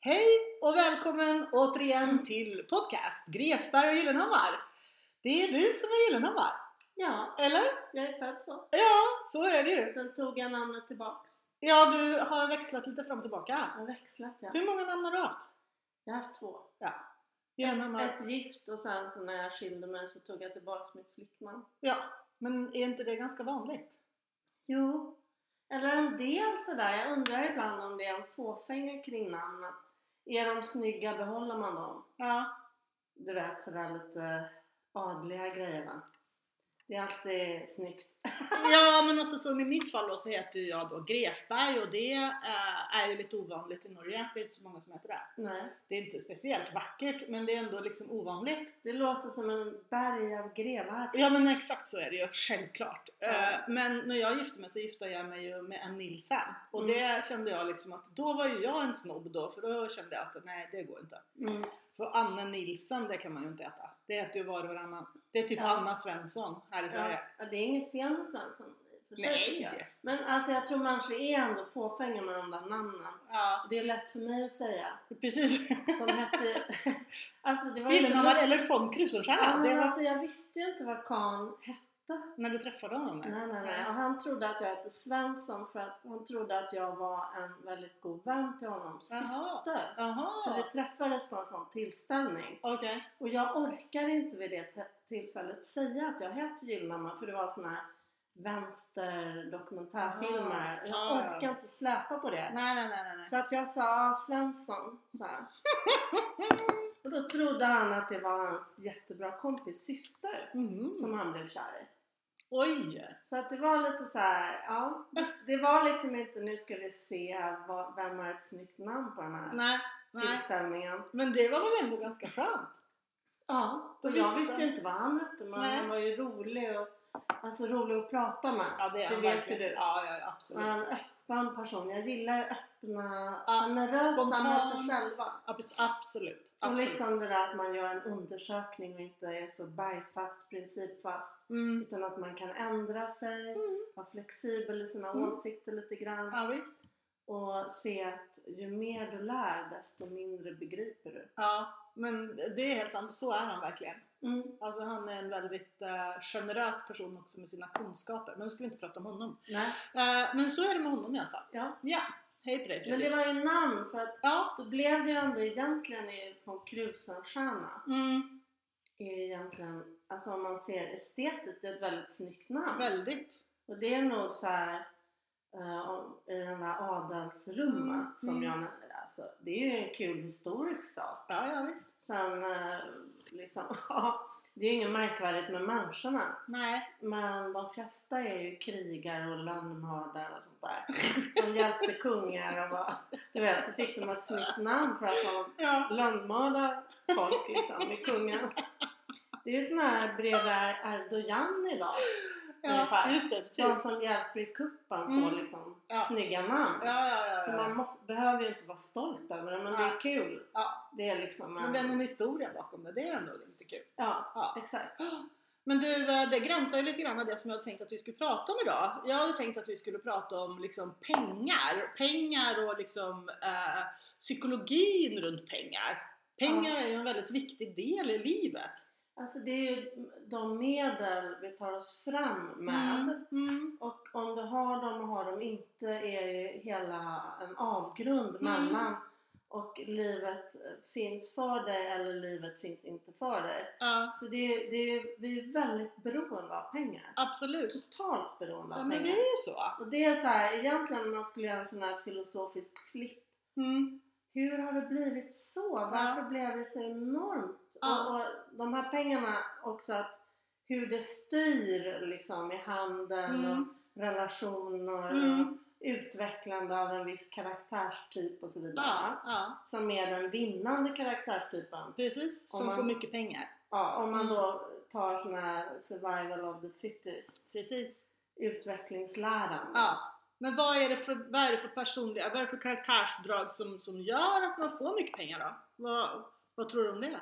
Hej och välkommen återigen till podcast Grefberg och Gyllenhammar. Det är du som är Gyllenhammar, Ja, eller? jag är född så. Ja, så är det ju. Sen tog jag namnet tillbaks. Ja, du har växlat lite fram och tillbaka. Jag har växlat ja. Hur många namn har du haft? Jag har haft två. Gyllenhammar. Ett gift och sen så när jag skilde mig så tog jag tillbaks mitt flicknamn. Ja, men är inte det ganska vanligt? Jo. Eller en del sådär. Jag undrar ibland om det är en fåfänga kring namn. att Är de snygga behåller man dem. Ja. Du vet sådär lite adliga grejer va? Det är alltid snyggt. Ja, men alltså som i mitt fall då så heter ju jag då Grefberg och det eh, är ju lite ovanligt i Norge. Det är inte så många som heter det. Nej. Det är inte speciellt vackert, men det är ändå liksom ovanligt. Det låter som en berg av grevar. Ja men exakt så är det ju, självklart. Ja. Eh, Men när jag gifte mig så gifte jag mig ju med en Nilsen. Och Mm. det kände jag liksom att då var ju jag en snobb då för då kände jag att nej det går inte. Mm. För Anna Nilsen det kan man ju inte äta. Det äter ju var och varannan. Det är typ Ja. Anna Svensson här i Ja, Sverige. ja, det är inget fel med Svensson. i och för sig, tycker jag. Nej! Men alltså jag tror människor är ändå fåfänga med de där namnen. Ja, Det är lätt för mig att säga. precis. Som hette... alltså det var ju så Gyllenhammar lätt. eller von Krusenstjerna. Ja, det men var alltså jag visste ju inte vad Kahn hette. när du träffade honom. där. Nej, nej, nej. Och han trodde att jag hette Svensson för att han trodde att jag var en väldigt god vän till honom. Jaha. Syster. För vi Jaha! träffades på en sån tillställning. Okej. Och jag orkar inte vid det te- tillfället säga att jag hette Gyllenhammar för det var såna här vänsterdokumentärfilmer. Aha. Jag Ja, ja. orkar inte släpa på det. Nej, nej, nej, nej, nej. Så att jag sa Svensson så här. Och då trodde han att det var hans jättebra kompis syster Mhm. som han blev kär i. Oj! Så att det var lite så här, ja. Det var liksom inte nu ska vi se här vad, vem har ett snyggt namn på den här Nej, nej. tillställningen. Men det var väl ändå ganska skönt? Ja, då och jag visste visste han. ju inte vad han hette men Nej. han var ju rolig och alltså rolig att prata med. är han vet ju verkligen. du. Ja, ja, Och absolut. en öppen person. Jag gillar ju öppna, Ja, generösa med sig spontan. själva. Abs- absolut. Och absolut. liksom det där att man gör en undersökning och inte är så bergfast, principfast. Mm. Utan att man kan ändra sig, vara flexibel i sina Mm. åsikter lite grann. Ja, visst. Och se att ju mer du lär desto mindre begriper du. Ja, men det är helt sant. Så är han verkligen. Mm. Alltså, han är en väldigt eh, generös person också med sina kunskaper. Men nu ska vi inte prata om honom. Nej. Eh, men så är det med honom i alla fall. Ja. Ja, hej på dig Men Fredrik. det var ju namn för att Ja. Då blev det ju ändå egentligen i- från Krusenstjerna Mm, är ju egentligen, alltså om man ser estetiskt, det är ett väldigt snyggt namn. väldigt. Och det är nog så här eh, om- i den där adelsrummet Mm, som mm. jag, alltså det är ju en kul historisk sak. Ja, ja visst. Sen eh, liksom, ja, det är ju inget märkvärdigt med människorna. Nej. Men de flesta är ju krigare och landmördare och sånt där. De hjälpte kungar och var, du vet, så fick de ett snyggt namn för att de Ja. landmörda folk liksom med kungens. Det är ju såna här bredvid Erdogan idag. ja Ungefär. just det, De precis. som hjälper i kuppen får Typ. Mm. liksom Ja. snygga namn. Ja, ja, ja. Så ja. man må- behöver ju inte vara stolt över det men det Nej. är kul. Ja. Det är liksom en, Men det är någon historia bakom det. Det är ändå lite kul. ja, Ja. exakt. Men du, eh, det gränsar ju lite grann med det som jag hade tänkt att vi skulle prata om idag. Jag hade tänkt att vi skulle prata om liksom pengar. Pengar och liksom eh, psykologin runt pengar. Pengar är ju en väldigt viktig del i livet. Alltså det är ju de medel vi tar oss fram med. Mm, mm, Och om du har dem och har dem inte är ju hela en avgrund Mm. mellan och livet eh, finns för dig eller livet finns inte för dig. ja, Så det är, det är, vi är väldigt beroende av pengar. absolut. Totalt beroende av Ja, men det pengar. är ju så. Och det är så här, egentligen om man skulle göra en sån här filosofisk flipp. Mm, Hur har det blivit så? Varför blev det så enormt? Ja. Och, och de här pengarna också att hur det styr liksom i handeln och mm, relationer och mm. utvecklande av en viss karaktärstyp och så vidare. Ja, ja, Som är den vinnande karaktärstypen. precis. Om Som man- får mycket pengar. Ja, om man Mm. då tar sån här survival of the fittest, Precis. utvecklingsläran. Ja. Men vad är det för, vad är det för personliga, vad är det för karaktärsdrag som, som gör att man får mycket pengar då? Vad, vad tror du om det?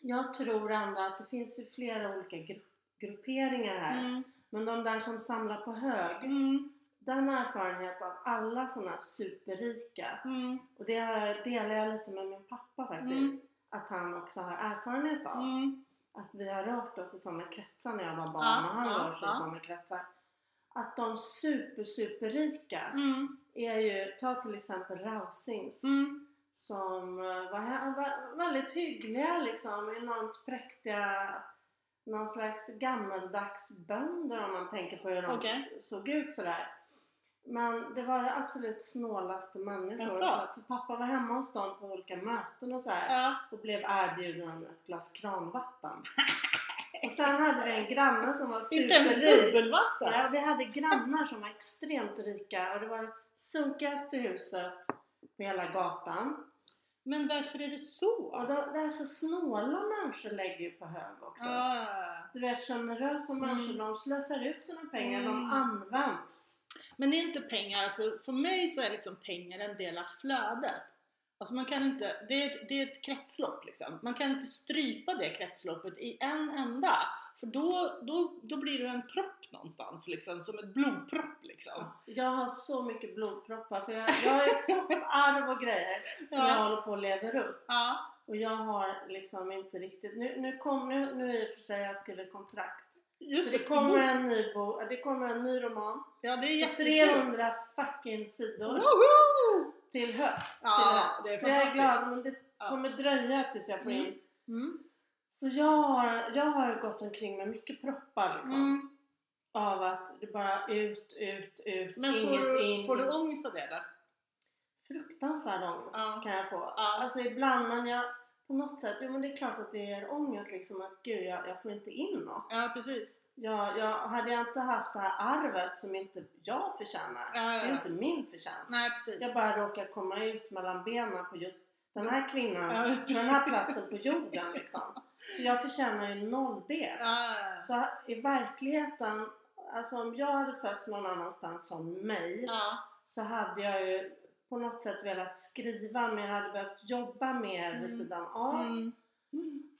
Jag tror ändå att det finns ju flera olika gru- grupperingar här. Mm. Men de där som samlar på hög, Mm, den erfarenhet av alla såna här superrika mm, och Och det har- delar jag lite med min pappa faktiskt. Att han också har erfarenhet av. Mm. Att vi har rört oss i sådana kretsar när jag var barn Ja, och han ja, rör sig ja. i sådana kretsar. Att de super, superrika Mm. är ju, ta till exempel Rausings Mm. som eh, var, han var väldigt hyggliga liksom, enormt präktiga, någon slags gammaldags bönder om man tänker på hur de Okej. såg ut sådär. Men det var det absolut snålaste människor. Jaså? Så, för pappa var hemma hos dem på olika möten och så här Ja. och blev erbjuden ett glas kranvatten. Och sen hade vi en granne som var Inte ens superrik. bubbelvatten. Ja, vi hade grannar som var extremt rika och det var det sunkigaste huset på hela gatan. Men varför är det så? Och de, det är så snåla människor lägger ju på hög också. Ah. Du vet generösa människor, Mm. de slösar ut sina pengar, de Mm. används. Men det är inte pengar, alltså för mig så är liksom pengar en del av flödet. Alltså man kan inte, det, är ett, det är ett kretslopp liksom. Man kan inte strypa det kretsloppet i en enda. För då, då, då blir det en propp någonstans liksom, som ett blodpropp liksom. Jag har så mycket blodproppar för jag, jag har ju fått arv och grejer som Ja. jag håller på och lever upp. Ja. Och jag har liksom inte riktigt... Nu, nu, kom, nu, nu i och för sig har jag skrivit kontrakt. Så Just det kommer en ny, bo, det kommer en ny roman. Ja, det är jättekul. 300 fucking sidor Woho! till höst. Ja, till höst. det är så jag är fantastiskt. glad men det Ja. kommer dröja tills jag får Mm. in. Mm. Så jag har, jag har gått omkring med mycket proppar liksom. Mm. Av att det bara ut, ut, ut, Men inget får du, in. får du ångest av det eller? Fruktansvärd ångest Ja. kan jag få. Ja. Alltså ibland men jag på något sätt, jo men det är klart att det är ångest liksom att gud jag, jag får inte in något. Ja, precis. Ja, jag, hade jag inte haft det här arvet som inte jag förtjänar, Ja, ja, det är ja. inte min förtjänst. Nej, precis. Jag bara råkar komma ut mellan benen på just den här kvinnan, Ja, på den här platsen på jorden liksom. Så jag förtjänar ju noll det. Ja, ja, ja. Så i verkligheten, alltså om jag hade fötts någon annanstans som mig ja. så hade jag ju på något sätt velat skriva men jag hade behövt jobba mer vid Mm. sidan av. Mm.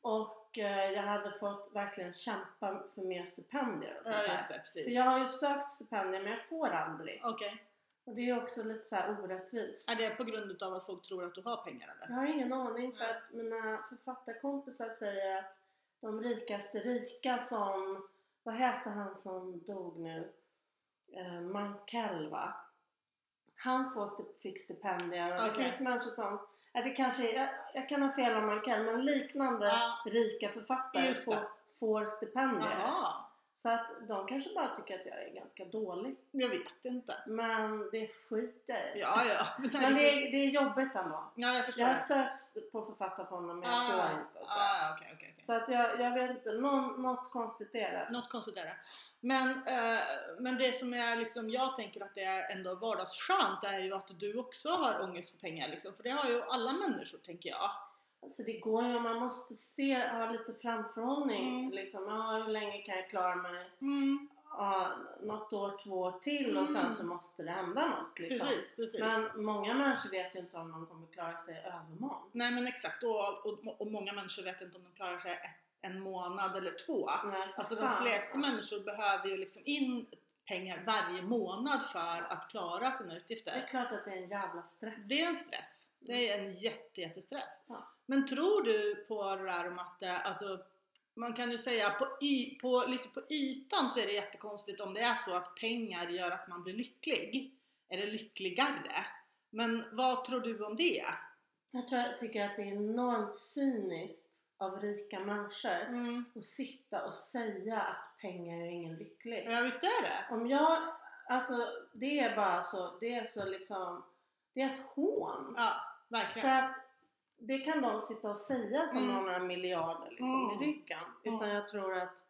Och eh, jag hade fått verkligen kämpa för mer stipendier och sånt ja, där. just det. För Precis. jag har ju sökt stipendier men jag får aldrig. Okej. Och det är också lite så här orättvist. Är det på grund utav att folk tror att du har pengar eller? Jag har ingen aning för Nej. att mina författarkompisar säger att de rikaste rika som, vad heter han som dog nu? Eh, Mankell va? Han får sti- fick stipendier och det Okej. finns människor som, ja, det kanske, är- jag, jag kan ha fel om Mankell men liknande Ja. rika författare Just det. får, får stipendier. Jaha, Så att de kanske bara tycker att jag är ganska dålig. jag vet inte. Men det skiter jag i. Ja, ja. Men, Men det är, det är jobbigt ändå. Ja, jag förstår Jag har det. sökt på författarfonden men jag får inte. Så, ah, okej, okej, okej. så att jag, jag vet inte, någon, något konstigt är det. Något konstigt är det. Men, eh, men det som är liksom, jag tänker att det är ändå vardagsskönt är ju att du också har ångest för pengar liksom. För det har ju alla människor tänker jag. Alltså det går ju, man måste se, ha lite framförhållning. Mm. Liksom, ja, hur länge kan jag klara mig? Ja, något år, två år till och sen Mm. så måste det hända något. Liksom. Precis, precis. Men många människor vet ju inte om de kommer klara sig övermorgon. Nej men exakt och, och, och många människor vet inte om de klarar sig ett, en månad eller två. Nej, för Alltså de fan. flesta människor behöver ju liksom in pengar varje månad för att klara sina Det är utgifter. klart att det är en jävla stress. Det är en stress. Det är en jätte, jättestress. Ja. Men tror du på det där om att eh, alltså, man kan ju säga på, y, på, liksom på ytan så är det jättekonstigt om det är så att pengar gör att man blir lycklig. Eller lyckligare. Men vad tror du om det? Jag tror, tycker att det är enormt cyniskt av rika människor Mm. att sitta och säga att pengar är ingen lycklig. Ja visst är det? Om jag, alltså det är bara så, det är så liksom, det är ett hån. Ja, För verkligen. att det kan de sitta och säga som Mm. har några miljarder liksom Mm. i ryggen. Utan Mm. jag tror att,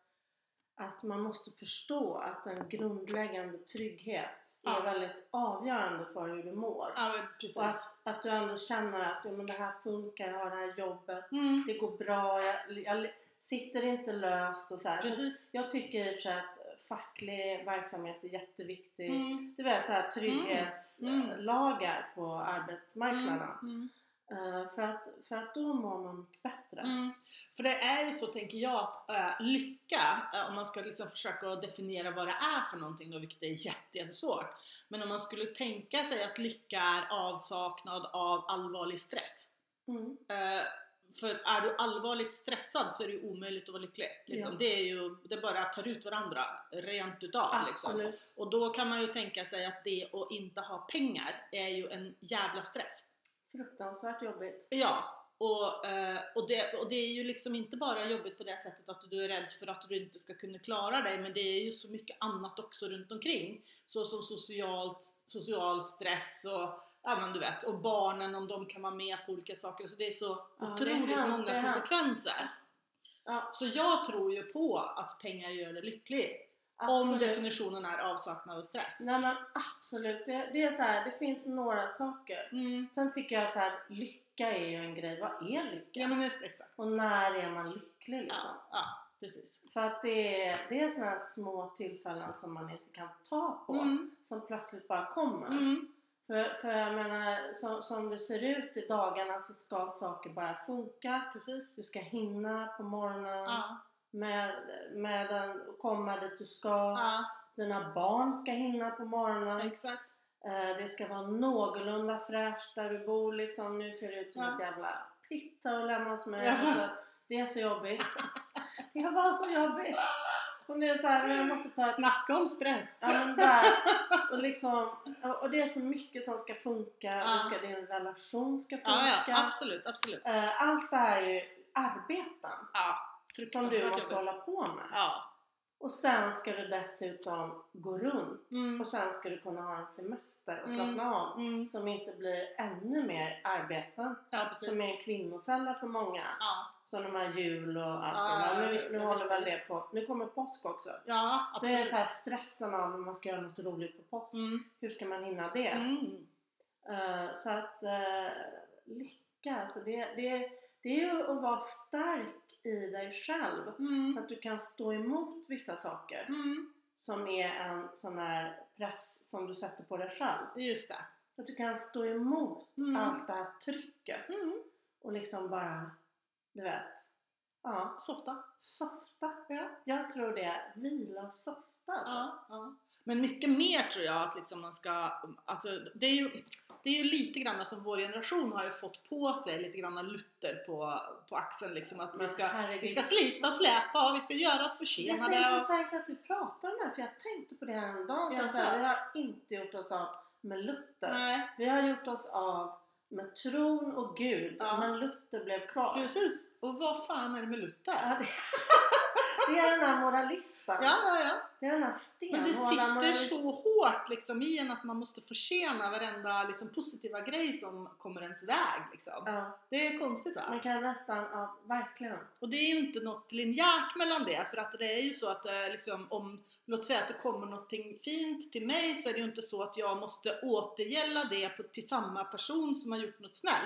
att man måste förstå att en grundläggande trygghet Ja. är väldigt avgörande för hur du mår. Ja men precis. Och att, att du ändå känner att ja, men det här funkar, jag har det här jobbet, Mm. det går bra, jag, jag sitter inte löst och så här. Så Precis. Jag tycker i och för sig att facklig verksamhet är jätteviktig. Mm. Det är så här trygghetslagar Mm. på arbetsmarknaden. Mm. Eh, för, att, för att då mår man mycket bättre. Mm. För det är ju så tänker jag att eh, lycka, eh, om man ska liksom försöka att definiera vad det är för någonting då, vilket är jätte, jättesvårt. Men om man skulle tänka sig att lycka är avsaknad av allvarlig stress. Mm. Eh, för är du allvarligt stressad så är det ju omöjligt att vara lycklig. Liksom. Ja. Det är ju, det bara tar ut varandra rent utav. Liksom. Absolut. Och då kan man ju tänka sig att det att inte ha pengar är ju en jävla stress. Fruktansvärt jobbigt. Ja, och, eh, och, det, och det är ju liksom inte bara jobbigt på det sättet att du är rädd för att du inte ska kunna klara dig, men det är ju så mycket annat också runt omkring. Så som socialt, social stress och ja men du vet, och barnen om de kan vara med på olika saker. Så det är så Ja, det är otroligt hemskt, det många är hemskt. konsekvenser. Ja, Så jag tror ju på att pengar gör dig lycklig. Om absolut. definitionen är avsaknad av stress. Nej men absolut. Det, det är så här, det finns några saker. Mm. Sen tycker jag så här, lycka är ju en grej. Vad är lycka? Ja men ex- exakt. Och när är man lycklig liksom? Ja, ja precis. För att det är, det är sådana här små tillfällen som man inte kan ta på. Mm. Som plötsligt bara kommer. Mm. För, för jag menar, som, som det ser ut i dagarna så ska saker bara funka. Precis. Du ska hinna på morgonen. Ja. Med, med den, och komma dit du ska. ja. Dina barn ska hinna på morgonen. Exakt. Eh, Det ska vara någorlunda fräscht där du bor liksom. Nu ser det ut som Ja. ett jävla pizza och lämna hos mig. Jaså? Alltså, det är så jobbigt. Det var så jobbigt. Och nu så här, jag måste ta ett... Snacka om stress! Ja men där. Och liksom, och- och det är så mycket som ska funka. Ja. Hur ska din relation ska funka. Ja, ja, absolut, absolut. Eh, Allt det här är ju arbeten. Ja, Som du fruktansvärt måste jobbigt. hålla på med. Ja. Och sen ska du dessutom gå runt. Mm. Och sen ska du kunna ha en semester och slappna Mm. av Mm. som inte blir ännu mer arbeten Ja, som precis. är en kvinnofälla för många. Ja, Som de här jul och allt Ja, det där. ja, Nu, visst, nu ja, håller visst, väl visst. det på. Nu kommer påsk också. ja Det är absolut. så här stressen av om man ska göra något roligt på påsk. Mm. Hur ska man hinna det? Mm. Eh, så att eh, lycka alltså. Det, det, det är ju att vara stark i dig själv. Så Mm. att du kan stå emot vissa saker. Mm. Som är en sån här press som du sätter på dig själv. Just det. Så att du kan stå emot Mm. allt det här trycket. Mm. Och liksom bara, du vet. Ja, Softa. softa. Ja. Jag tror det. Vila softa alltså. Ja, ja. Men mycket mer tror jag att liksom man ska, alltså det är ju, det är ju lite grann som vår generation har ju fått på sig lite grann lutter på, på axeln liksom att vi Men ska, herregud. vi ska slita och släpa och vi ska göra oss Det är så försenade. Och, Alltså, intressant att du pratar om det här för jag tänkte på det här en dag. Jaså? Så här, vi har inte gjort oss av med Luther. nej, Vi har gjort oss av med tron och Gud. Ja. Men Luther blev kvar. precis. Och vad fan är det med Luther? Ja, det, det är den här moralisten. Ja, ja, ja. Det är den här stenhårda Men det sitter moralisten. så hårt liksom, i en att man måste försena varenda liksom, positiva grej som kommer ens väg. Liksom. Ja, Det är konstigt va? man kan nästan, ja verkligen. Och det är ju inte något linjärt mellan det. För att det är ju så att eh, liksom, om, låt säga att det kommer någonting fint till mig så är det ju inte så att jag måste återgälla det på, till samma person som har gjort något snällt.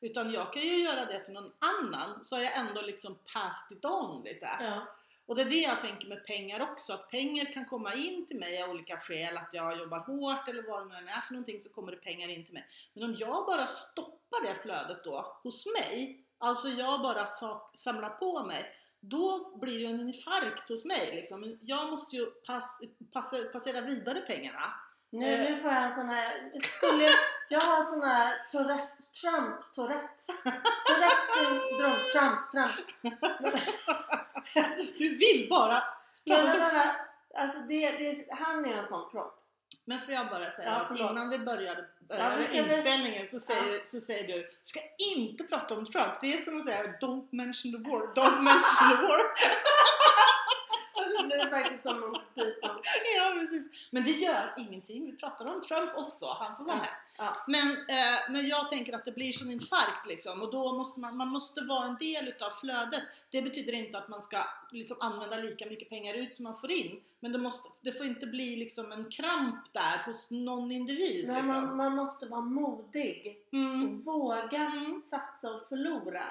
Utan jag kan ju göra det till någon annan så har jag ändå liksom passed it on lite. Ja. Och det är det jag tänker med pengar också, att pengar kan komma in till mig av olika skäl, att jag jobbar hårt eller vad det nu än är för någonting så kommer det pengar in till mig. Men om jag bara stoppar det flödet då hos mig, alltså jag bara sak, samlar på mig, då blir det ju en infarkt hos mig. Liksom. Jag måste ju pass, passa, passera vidare pengarna. Nu, Eh. nu får jag en sån här... Skulle, jag har sån här Tourette, Trump, Tourettes. Tourettes syndrom, Trump, Trump. Du vill bara Men, prata men, om... men, men, alltså det, det, han är en sån propp. Men får jag bara säga Ja, att förlåt. innan vi började, Ja, började vi ska väl- inspelningen så säger, så säger du ska inte prata om Trump. Det är som att säga don't mention the war, don't mention the war. Det blir faktiskt som typ Monty Python. ja, precis. Men det gör ingenting. Vi pratar om Trump också. Han får vara Ja, med. ja. Men, eh, men jag tänker att det blir som infarkt liksom. Och då måste man, man måste vara en del utav flödet. Det betyder inte att man ska liksom använda lika mycket pengar ut som man får in. Men det, måste, det får inte bli liksom en kramp där hos någon individ. Nej, liksom. man, man måste vara modig mm, och våga Mm. satsa och förlora.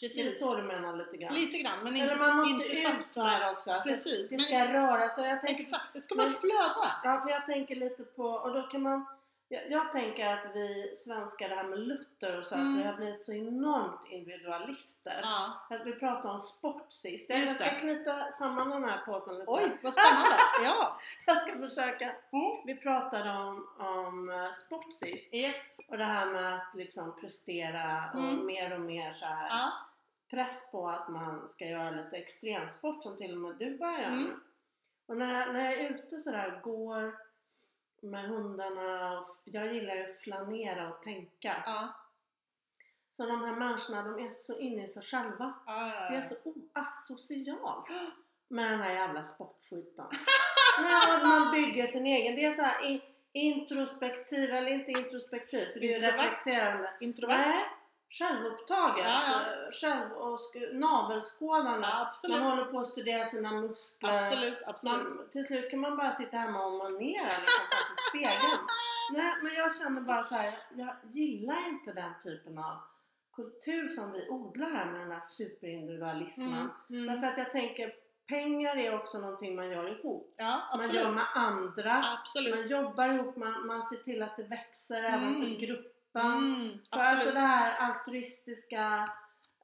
Det är precis. så du menar lite grann? Lite grann, men inte, Eller man måste inte ut satsa. med det också. Alltså, Precis, Det men- ska röra sig. Jag tänker, Exakt, det ska vara ett flöde. ja, för jag tänker lite på... Och då kan man Jag, jag tänker att vi svenskar, det här med Luther och så, Mm. att vi har blivit så enormt individualister. Ja. Att vi pratade om sport sist. Jag Just ska det. knyta samman den här påsen lite. Oj, vad spännande! Ja. Jag ska försöka. Mm. Vi pratade om, om eh, sport sist Yes. och det här med att liksom prestera och Mm. mer och mer så här Ja. press på att man ska göra lite extremsport som till och med du börjar göra Mm. nu. Och när jag, när jag är ute sådär, går med hundarna, och f- jag gillar ju att flanera och tänka. Ja. Så de här människorna, de är så inne i sig själva. Ja, Det ja, är ja. så oasocialt med den här jävla sportskiten. När man bygger sin egen, det är så här i- introspektiv, eller inte introspektiv, för det är ju Introvert. reflekterande. Introvert. Nej, självupptaget, Ja, eh, själv och sk- navelskådande. Ja, Man absolut. håller på att studera sina muskler. Absolut, absolut. Man, till slut kan man bara sitta hemma och onanera liksom framför spegeln. Nej, men jag känner bara så här, jag gillar inte den typen av kultur som vi odlar här med den här superindividualismen. Mm. Mm. Därför att jag tänker, pengar är också någonting man gör ihop. Ja, Man gör absolut. med andra, Absolut. man jobbar ihop, man, man ser till att det växer även Mm. för gruppen. Mm, För alltså absolut. det här altruistiska,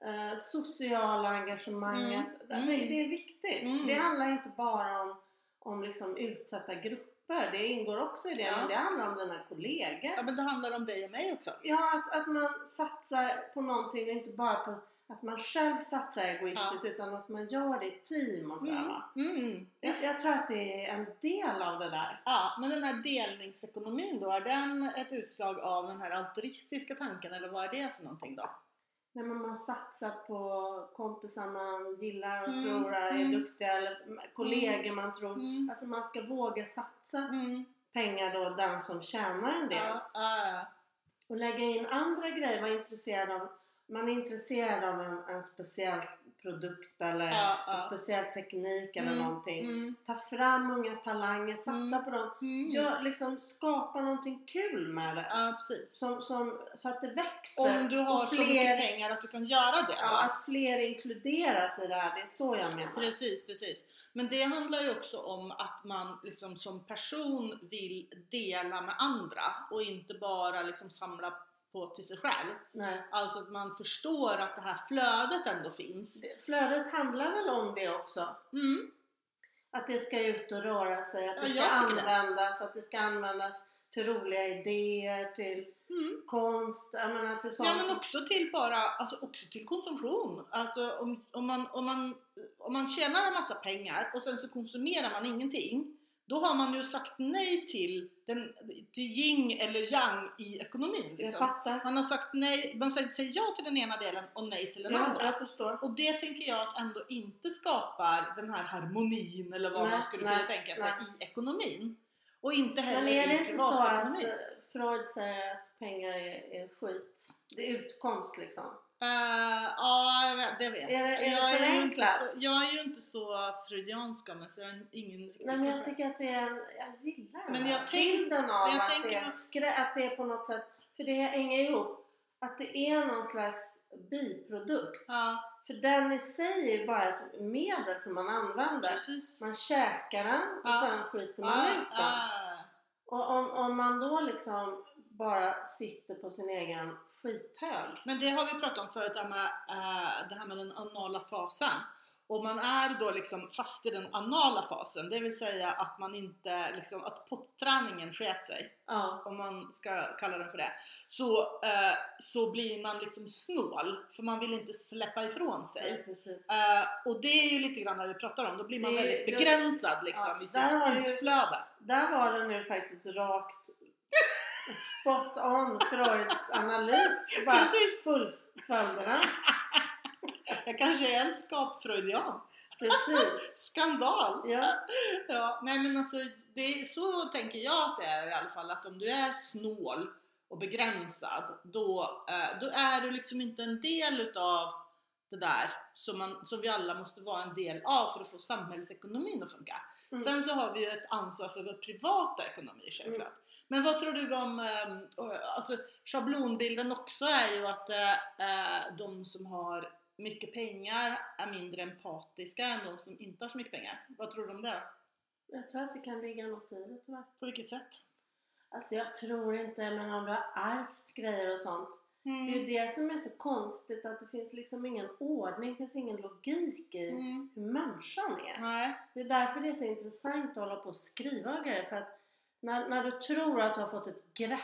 eh, sociala engagemanget, Mm. det- Det, Mm. det är viktigt. Mm. Det handlar inte bara om, om liksom utsatta grupper, det ingår också i det, Ja. men det handlar om dina kollegor. Ja, men det handlar om dig och mig också. Ja, att, att man satsar på någonting och inte bara på att man själv satsar egoistiskt utan att man gör det i team och sådär. Mm. va? Mm. Jag, jag tror att det är en del av det där. Ja, men den här delningsekonomin då, är den ett utslag av den här altruistiska tanken eller vad är det för någonting då? När man, man satsar på kompisar man gillar och Mm, tror är mm. duktiga eller m- kollegor man tror. Mm. Alltså man ska våga satsa Mm. pengar då, den som tjänar en del. Ja, ja, Och lägga in andra grejer, vara intresserad av, man är intresserad av en, en speciell produkt eller Ja, ja. en speciell teknik eller Mm, någonting. mm, Ta fram unga talanger, satsa Mm. på dem. mm. Gör, liksom, skapa någonting kul med det. ja, precis. Som, som, så att det växer. Om du har och så mycket pengar att du kan göra det. ja, va? att fler inkluderas i det här. Det är så jag menar. Precis, precis. Men det handlar ju också om att man liksom som person vill dela med andra och inte bara liksom samla på till sig själv. Nej. Alltså att man förstår att det här flödet ändå finns. Det- Flödet handlar väl om det också? Mm. Att det ska ut och röra sig, att det Ja, ska jag tycker det. användas, att det ska användas till roliga idéer, till Mm. konst, jag menar till sånt. Ja men också till bara, alltså också till konsumtion. Alltså om, om, man, om, man, om man tjänar en massa pengar och sen så konsumerar man ingenting. Då har man ju sagt nej till, den, till yin eller yang i ekonomin. jag Liksom. fattar. Man har sagt nej, man säger säger ja till den ena delen och nej till den Ja, andra. jag förstår. Och det tänker jag att ändå inte skapar den här harmonin eller vad Nej, man skulle nej, kunna tänka sig i ekonomin. Och inte Men heller är det i inte så att privatekonomin. eh, Freud säger att pengar är, är skit? Det är utkomst liksom. Eh, ja, jag vet- det vet Är jag. det- är det jag, är ju inte förenklat? så, jag är ju inte så freudiansk av mig så jag har ingen riktig Nej men koll. jag tycker att det är en, jag gillar den Men här jag tänk- bilden av men jag att, det tänker är att- skrä, att det är på något sätt, för det hänger ihop, att det är någon slags biprodukt. Ja, För den i sig är bara ett medel som man använder. precis. Man käkar den och Ja. sen skiter man Ja, ut den. ja. Och om, om man då liksom bara sitter på sin egen skithög. Men det har vi pratat om förut, det här med, eh, det här med den anala fasen. Och man är då liksom fast i den anala fasen, det vill säga att man inte, liksom, att potträningen sket sig, Ja. om man ska kalla den för det. Så, eh, så blir man liksom snål, för man vill inte släppa ifrån sig. Ja, precis. Eh, och det är ju lite grann det vi pratar om, då blir man Det är- väldigt det- begränsad liksom ja, i där har du- sitt utflöde. Där var det nu faktiskt rakt spot on Freuds analys. Bara Precis. fullföljde den. Jag kanske är en skapfreudian. Precis. Skandal! Ja. Ja, nej men alltså, det är, så tänker jag att det är i alla fall, att om du är snål och begränsad, då, eh, då är du liksom inte en del utav det där som, man, som vi alla måste vara en del av för att få samhällsekonomin att funka. Mm. Sen så har vi ju ett ansvar för vår privata ekonomi självklart. Men vad tror du om, ehm, och, alltså schablonbilden också är ju att eh, eh, de som har mycket pengar är mindre empatiska än de som inte har så mycket pengar. Vad tror du om det? Jag tror att det kan ligga något i det tyvärr. På vilket sätt? Alltså jag tror inte, men om du har ärvt grejer och sånt. Det är ju Mm. det som är så konstigt att det finns liksom ingen ordning, det finns ingen logik i Mm. hur människan är. Nej. Det är därför det är så intressant att hålla på och skriva och grejer. För att när, när du tror att du har fått ett grepp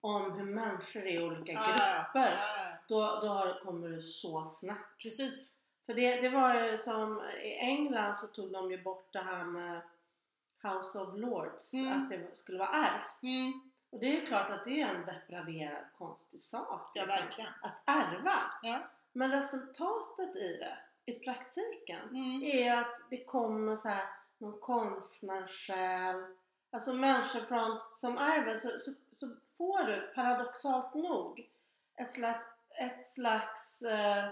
om hur människor är i olika Ja, ja, ja. grupper, Ja, ja. då, då har, kommer du så snabbt. Precis. För det, det var ju som i England så tog de ju bort det här med House of Lords, Mm. att det skulle vara ärvt. Mm. Och det är ju klart att det är en depraverad konstig sak. Ja, liksom, verkligen. Att ärva. Ja. Men resultatet i det, i praktiken, Mm. är att det kommer så här någon konstnärssjäl. Alltså människor från, som ärver så, så, så får du paradoxalt nog ett slags, ett slags eh,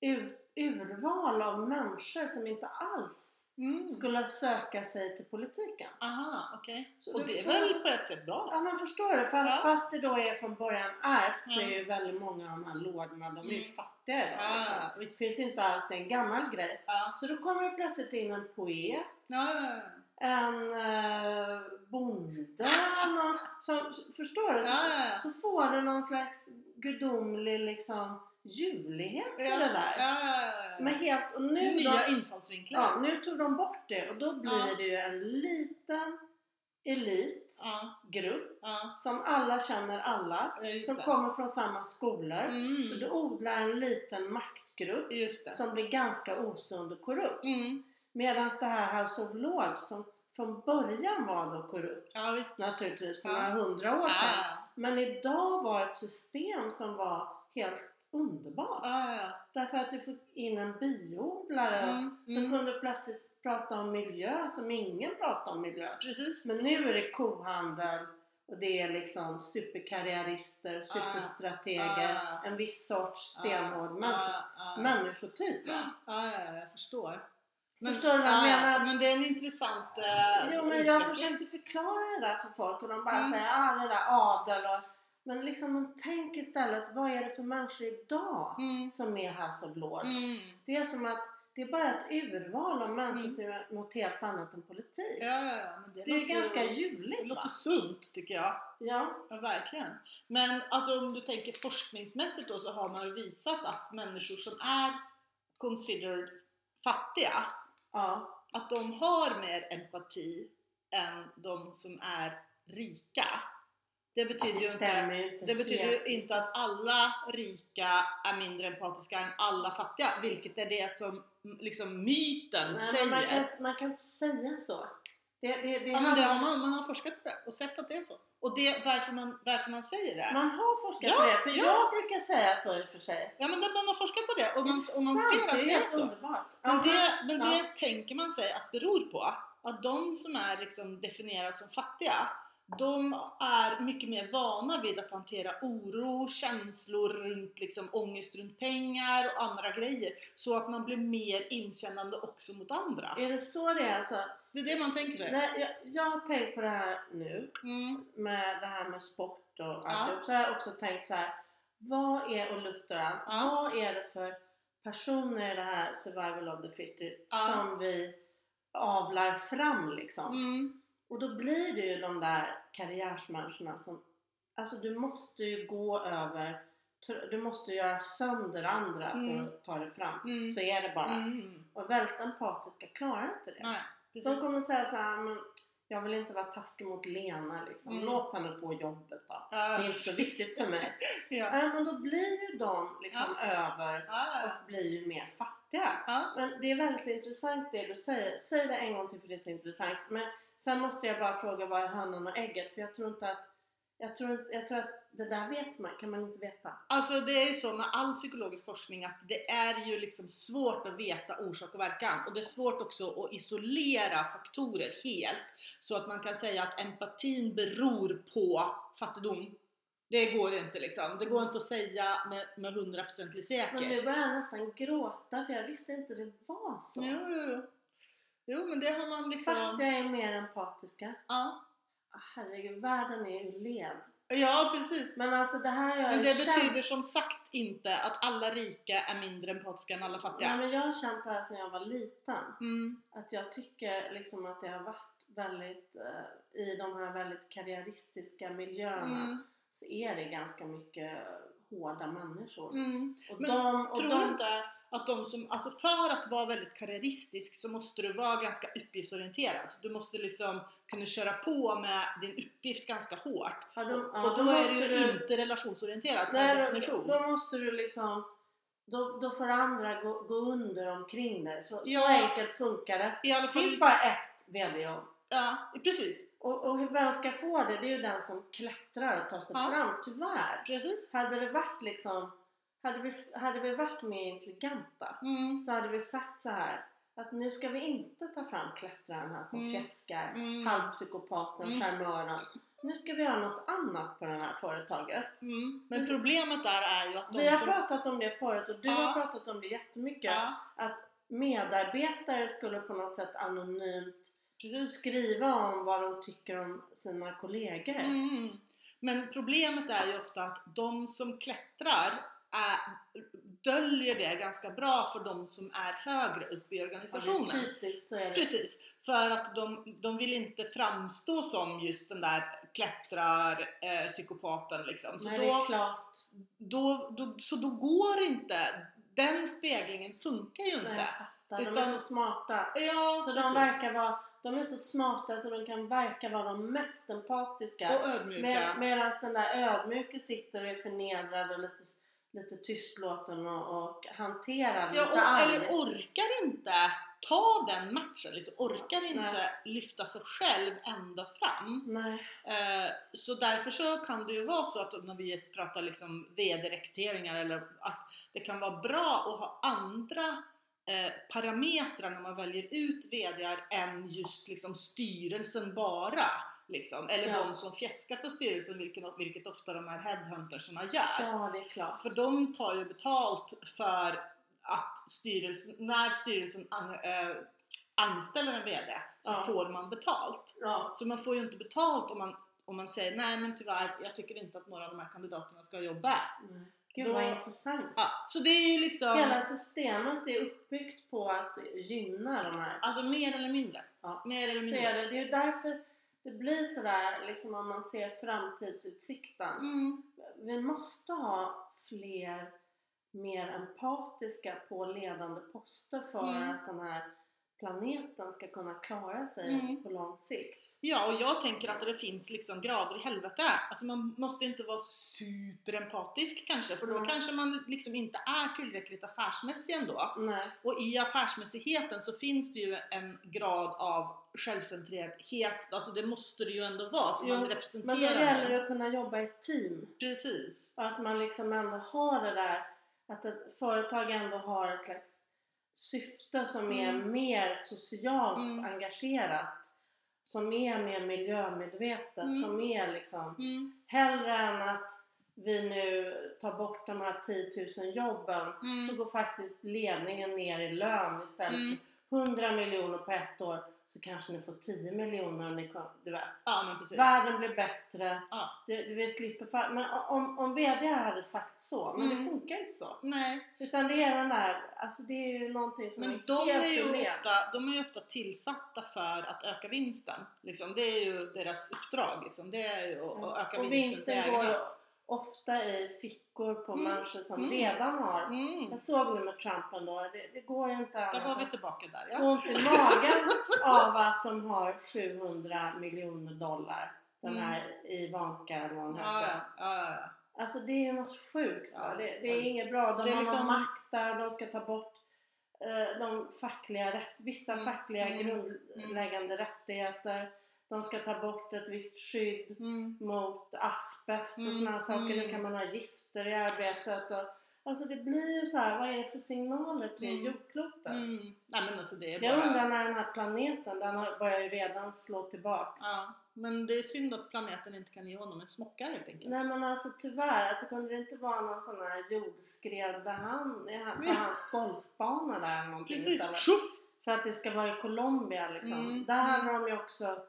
ur, urval av människor som inte alls Mm. skulle söka sig till politiken. Aha, okej. Så Och du det är får- väl på ett sätt bra? Ja men förstår du? Fast, Ja. fast det då är från början ärvt så Ja. är ju väldigt många av de här lådorna, de är ju Mm. fattiga idag. liksom. Ja, Det visst. finns ju inte alls, det är en gammal grej. Ja. Så då kommer det plötsligt in en poet Ja, ja, ja. en eh, bonde någon, som, förstår du? Så, Ja, ja, ja. så får du någon slags gudomlig liksom ljuvlighet i Ja, det där. Ja, ja, ja, ja. Men helt, och nu, Nya de, infallsvinklar. ja, nu tog de bort det och då blir Ja. det ju en liten elitgrupp ja, ja. som alla känner alla, ja, just som det. kommer från samma skolor. Så du Mm. odlar en liten maktgrupp Just det. som blir ganska osund och korrupt. Mm. Medan det här House of Lords som från början var då korrupt Ja, visst. naturligtvis för Ja. några hundra år Ja, sedan. ja, Men idag var ett system som var helt underbart. ja, ja. Därför att du fick in en biodlare Mm, som mm. kunde plötsligt prata om miljö som ingen pratade om miljö. Precis. Men precis. nu är det kohandel och det är liksom superkarriärister, superstrateger, Ah. en viss sorts stenhård ja, människa- ja, ja. människotyp. Ja, ja, ja, jag förstår. Förstår du vad jag ja, menar? Men det är en intressant eh, Jo men jag utveckling. försökte förklara det där för folk och de bara Mm. säger ah det där adel och... Men liksom men tänk istället, vad är det för människor idag Mm. som är House of Lords? Mm. Det är som att det är bara ett urval av människor Mm. som är något helt annat än politik. Ja, ja, ja. Men det, Det är ju låter- ganska Det ljuvligt va? låter sunt tycker jag. Ja. Ja, verkligen. Men alltså, om du tänker forskningsmässigt då så har man ju visat att människor som är considered fattiga, ja. att de har mer empati än de som är rika. Det betyder ju inte, ju inte. det betyder ju helt. inte att alla rika är mindre empatiska än alla fattiga, vilket är det som mm, liksom, myten Nej, men man, säger. kan, man kan inte säga så. Det, det, det Ja, men det handlar- har man, man har forskat på det och sett att det är så. Och det, varför, man, varför man säger det. man har forskat Ja, på det, för ja. jag brukar säga så i och för sig. Ja men det- man har forskat på det och man, och man Sant, ser att det är helt så. Underbart. Men Ja, det, men ja. det tänker man sig att beror på att de som är liksom definierade som fattiga, de är mycket mer vana vid att hantera oro, känslor runt liksom ångest runt pengar och andra grejer. Så att man blir mer inkännande också mot andra. Är det så det är alltså? Det är det man tänker sig. Nej, jag, jag har tänkt på det här nu Mm, med det här med sport och Ja. alltihop. Så har jag också tänkt så här. Vad är och luktar allt? Ja. Vad är det för personer i det här survival of the fittest Ja. som vi avlar fram liksom? mm, Och då blir det ju de där karriärsmänniskorna som Alltså du måste ju gå över tr- Du måste göra sönder andra Mm. för att ta dig fram. Mm. Så är det bara. mm. Och väldigt empatiska klarar inte det. Nej, De precis. kommer säga så här, men jag vill inte vara taskig mot Lena liksom. Mm. Låt henne få jobbet då. Det Ja, är inte så precis. viktigt för mig. Ja. Ja, men då blir ju de liksom över Ja, ja, och blir ju mer fattiga. ja. Men det är väldigt intressant det du säger. Säg det en gång till för det är så intressant. Men sen måste jag bara fråga vad är hönan och ägget? För jag tror inte att jag tror, inte- jag tror att det där vet man, kan man inte veta. Alltså det är ju så med all psykologisk forskning att det är ju liksom svårt att veta orsak och verkan och det är svårt också att isolera faktorer helt så att man kan säga att empatin beror på fattigdom. Det går inte liksom. Det går inte att säga med, med 100% Men säker. nu börjar jag nästan gråta för jag visste inte det var så. Jo, jo, jo. jo, men det har man liksom... Fattiga är mer empatiska. Ja. Ah, Herregud, världen är ju led. ja, precis. Men alltså det här har jag Men det ju känt- betyder som sagt inte att alla rika är mindre empatiska än alla Nej, fattiga. men jag har känt det här sedan jag var liten. Mm, Att jag tycker liksom att det har varit väldigt, eh, i de här väldigt karriäristiska miljöerna Mm. så är det ganska mycket hårda människor. Mm. Och Men de, och Tror du de, inte att de som, alltså för att vara väldigt karriäristisk så måste du vara ganska uppgiftsorienterad. Du måste liksom kunna köra på med din uppgift ganska hårt. ja, de, ja, och då, är måste du ju inte relationsorienterad per Nej, definition. Då, då måste du liksom då, då får andra gå, gå under omkring dig. Så, Ja. så enkelt funkar det. I alla Det fall, finns bara ett VD-jobb. ja, precis, Och, och hur vem ska få det? Det är ju den som klättrar och tar sig Ja. fram, tyvärr. precis. Hade det varit liksom, hade vi, hade vi varit mer intelligenta Mm, så hade vi sagt så här att nu ska vi inte ta fram klättraren här som Mm. fjäskar, Mm. halvpsykopaten, Mm. charmören. Nu ska vi göra något annat på det här företaget. mm. Men problemet där är ju att de Vi har som... pratat om det förut och du Ja. har pratat om det jättemycket. Ja, Medarbetare skulle på något sätt anonymt precis. skriva om vad de tycker om sina kollegor. Mm. Men problemet är ju ofta att de som klättrar är, döljer det ganska bra för de som är högre upp i Ja, typ. det är organisationen. Typiskt så är det. Precis, för att de, de vill inte framstå som just den där klättrarpsykopaten eh, psykopaten liksom. Så Men det är då, klart. då, då, så då går inte, den speglingen funkar ju men inte. Jag fattar. De Utan- är så smarta. Ja, Så de, precis. verkar vara, de är så smarta så de kan verka vara de mest empatiska. Och ödmjuka. Med, Medan den där ödmjuke sitter och är förnedrad och lite, lite tystlåten och, och hanterad. Ja, lite och, arg. eller orkar inte ta den matchen, liksom, orkar Nej. inte lyfta sig själv ända fram. Nej. Eh, så därför så kan det ju vara så att när vi pratar liksom vd-rekryteringar eller att det kan vara bra att ha andra eh, parametrar när man väljer ut vdar än just liksom styrelsen bara. Liksom. Eller Ja. de som fjäskar för styrelsen, vilket, vilket ofta de här headhuntersarna gör. Ja, det är klart. För de tar ju betalt för att styrelsen, när styrelsen an, eh, anställer en VD så Ja. får man betalt. Ja. Så man får ju inte betalt om man, om man säger nej men tyvärr, jag tycker inte att några av de här kandidaterna ska jobba här. Mm. Gud Då- vad intressant. Ja, så det är ju liksom, Hela systemet är uppbyggt på att gynna de här. alltså mer eller mindre. Ja. Mer eller Så mindre. är det, det är ju därför det blir sådär liksom om man ser framtidsutsikten. Mm, Vi måste ha fler mer empatiska på ledande poster för Mm. att den här planeten ska kunna klara sig Mm. på lång sikt. Ja, och jag tänker att det finns liksom grader i helvete. Alltså man måste inte vara superempatisk kanske, för då Mm. kanske man liksom inte är tillräckligt affärsmässig ändå. Nej. Och i affärsmässigheten så finns det ju en grad av självcentrerhet, alltså det måste det ju ändå vara för Jo, man Men då gäller representerar det någon. att kunna jobba i team. Precis. Och att man liksom ändå har det där att ett företag ändå har ett slags syfte som är Mm. mer socialt Mm. engagerat som är mer miljömedvetet Mm. som är liksom Mm, hellre än att vi nu tar bort de här 10 000 jobben Mm. så går faktiskt ledningen ner i lön istället Mm. för 100 miljoner på ett år så kanske ni får 10 miljoner och ni kom, du vet ja men precis. Världen blir bättre. Ja. Det, det, vi slipper fa- men om, om VD hade sagt så, men Mm. det funkar inte så. Nej, Utan det är den där, alltså det är ju någonting som men de helt är, ju unikt. ofta, de är ju ofta tillsatta för att öka vinsten. Liksom. Det är ju deras uppdrag, liksom. det är ju att, att öka Mm. Och vinsten till vinsten ägarna. går ofta i fickor på Mm. människor som Mm. redan har. Mm. Jag såg nu med Trump ändå, det, det går ju inte Där var annat. vi tillbaka där Jag ja. får ont i magen av att de har 700 miljoner dollar. Den Mm. här Ivanka eller vad hon Ja, heter. ja, ja, ja. Alltså det är ju något sjukt. Ja, va? det- det, det ja, är visst. inget bra. De Det är har liksom- någon makt där och de ska ta bort eh, de fackliga rätt, vissa Mm, fackliga mm, grundläggande rättigheter. De ska ta bort ett visst skydd Mm. mot asbest och Mm, mm, sådana saker. mm. Nu kan man ha gifter i arbetet. Och, alltså det blir ju så här, vad är det för signaler till Mm. jordklotet? Mm. Nej men alltså det är Jag bara... undrar när den här planeten, den har- börjar ju redan slå tillbaks. Ja, men det är synd att planeten inte kan ge honom en smocka helt enkelt. Nej men alltså tyvärr, att det kunde inte vara någon sån här jordskred där han, i han- på hans golfbana där eller någonting Precis, istället. tjoff! För att det ska vara i Colombia liksom. Mm, Där mm. har de ju också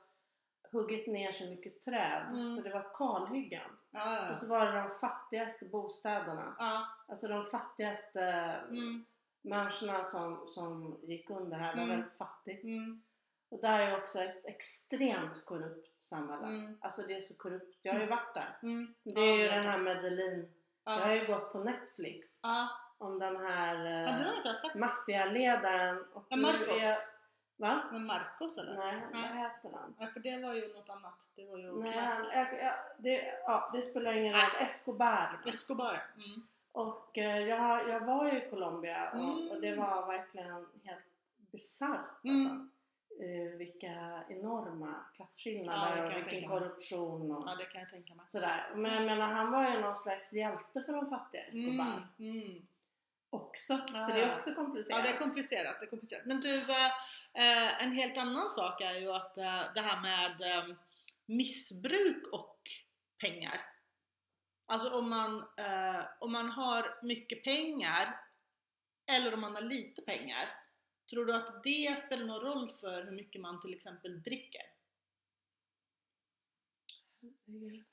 huggit ner så mycket träd Mm. så det var kalhyggen. Ja, Och ja, så var det de fattigaste bostäderna. ja. Alltså de fattigaste Mm, människorna som, som gick under här var Mm. väldigt fattigt. mm, Och där är också ett extremt korrupt samhälle. Mm. Alltså det är så korrupt. Jag har ju varit där. Mm. Det är ju Ja, den här Medellin. Jag har Ja. ju gått på Netflix Ja. om den här ja, det har eh, inte jag sett. maffialedaren. Och Ja, nu Marcos. är- Va? Men Marcos eller? Nej, vad Nej. heter han? Nej, för det var ju något annat. Det var ju Nej, han, knark. jag, jag, det, ja, det spelar ingen roll. Escobar. Escobar. Mm. Och eh, jag, jag var ju i Colombia och, Mm. och det var verkligen helt bisarrt Mm. alltså. Eh, vilka enorma Ja, det klasskillnader kan och jag vilken tänka mig. korruption och Ja, det kan jag tänka mig. sådär. Men jag menar, han var ju någon slags hjälte för de fattiga Mm. Escobar Mm. också. Ja, Så det ja. är också komplicerat. Ja, det är komplicerat. Det är komplicerat. Men du, eh, eh, en helt annan sak är ju att eh, det här med eh, missbruk och pengar. Alltså om man, eh, om man har mycket pengar eller om man har lite pengar. Tror du att det spelar någon roll för hur mycket man till exempel dricker?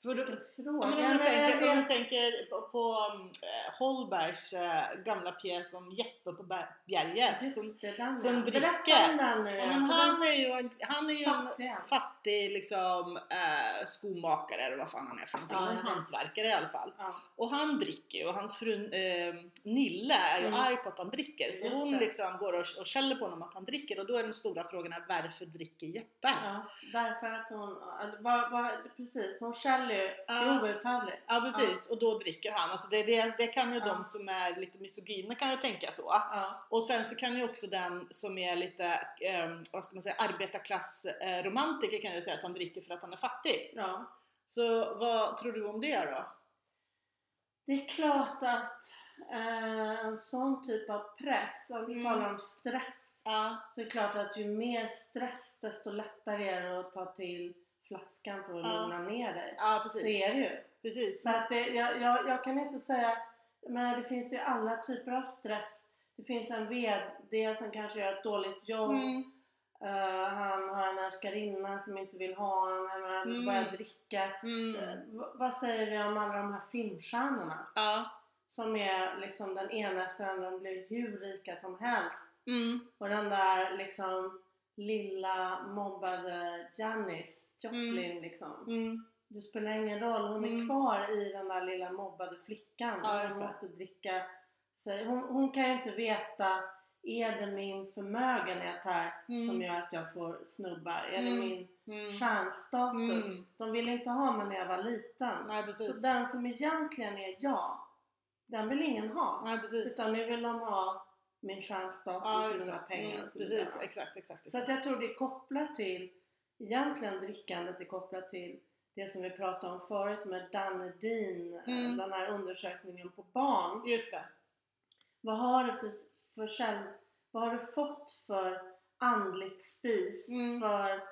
För du, Fråga. Ja, men eh, om, men du jag tänker, om du vet, tänker på, på mm, eh, Holbergs eh, gamla pjäs om Jeppe på Ber- berget. Som, just det, den som ja. dricker. Berätta om den nu. ja, men han är ju en, han är ju en Fattiga. fattig liksom, eh, skomakare eller vad fan han är för någonting. Ja, jag en vet. hantverkare i alla fall. Ja. Och han dricker ju och hans fru eh, Nille är ju Mm. arg på att han dricker. Så Just hon det. liksom går och, och skäller på honom att han dricker och då är den stora frågan här, varför dricker Jeppe? Ja, därför att hon, eller vad- vad- precis, hon skäller ju, det är Ja. outhärdligt. Ja precis, och då dricker han. Alltså det, det, det kan ju Ja. de som är lite misogyna kan ju tänka så. Ja, Och sen så kan ju också den som är lite, eh, vad ska man säga, arbetarklassromantiker eh, romantiker kan ju säga att han dricker för att han är fattig. ja. Så vad tror du om det då? Det är klart att eh, en sån typ av press, om vi Mm. talar om stress, Ja, så är det klart att ju mer stress desto lättare är det att ta till flaskan för att Ja. lugna ner dig. ja Så precis. är det ju. Precis. Så att det, jag, jag, jag kan inte säga, men det finns ju alla typer av stress. Det finns en VD som kanske gör ett dåligt jobb. Mm, Eh, han har en älskarinna som inte vill ha honom, han menar, Mm. börjar dricka. Eh, mm, v- vad säger vi om alla de här filmstjärnorna? ja, Som är liksom den ena efter den andra, de blir hur rika som helst. mm, Och den där liksom lilla mobbade Janis Joplin liksom. mm, Det spelar ingen roll, hon Mm. är kvar i den där lilla mobbade flickan. Ja, just hon det. måste dricka sig. Hon, hon kan ju inte veta, är det min förmögenhet här Mm. som gör att jag får snubbar? Är Mm. det min mm. stjärnstatus? Mm. De ville inte ha mig när jag var liten. Nej Så precis. den som egentligen är jag, den vill ingen ha. Nej precis. Utan nu vill de ha min stjärnstatus Ja, och just mina det. pengar. Mm, och så vidare. precis, exakt, exakt. Så att exakt. jag tror det är kopplat till, egentligen drickandet är kopplat till det som vi pratade om förut med Danedin, eh, Mm. den här undersökningen på barn. Just det. Vad har du för, för själv, vad har du fått för andligt spis, Mm. för,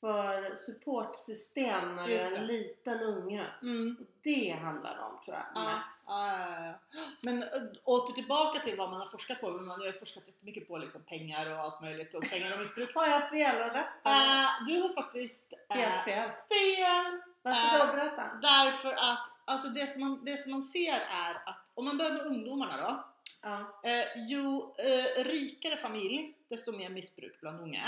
för supportsystem när Just du är en det. liten unge? Mm. Det handlar det om tror jag Ja, mest. ja, ja, ja. Men ö, åter tillbaka till vad man har forskat på. Men Man har ju forskat jättemycket på liksom pengar och allt möjligt och pengar och missbruk. Har jag fel och rätt? eller? Eh, du har faktiskt eh, Helt fel. fel! Varför eh, då? Berätta. Därför att alltså det, som man, det som man ser är att om man börjar med ungdomarna då. Ja. Eh, ju eh, rikare familj, desto mer missbruk bland unga.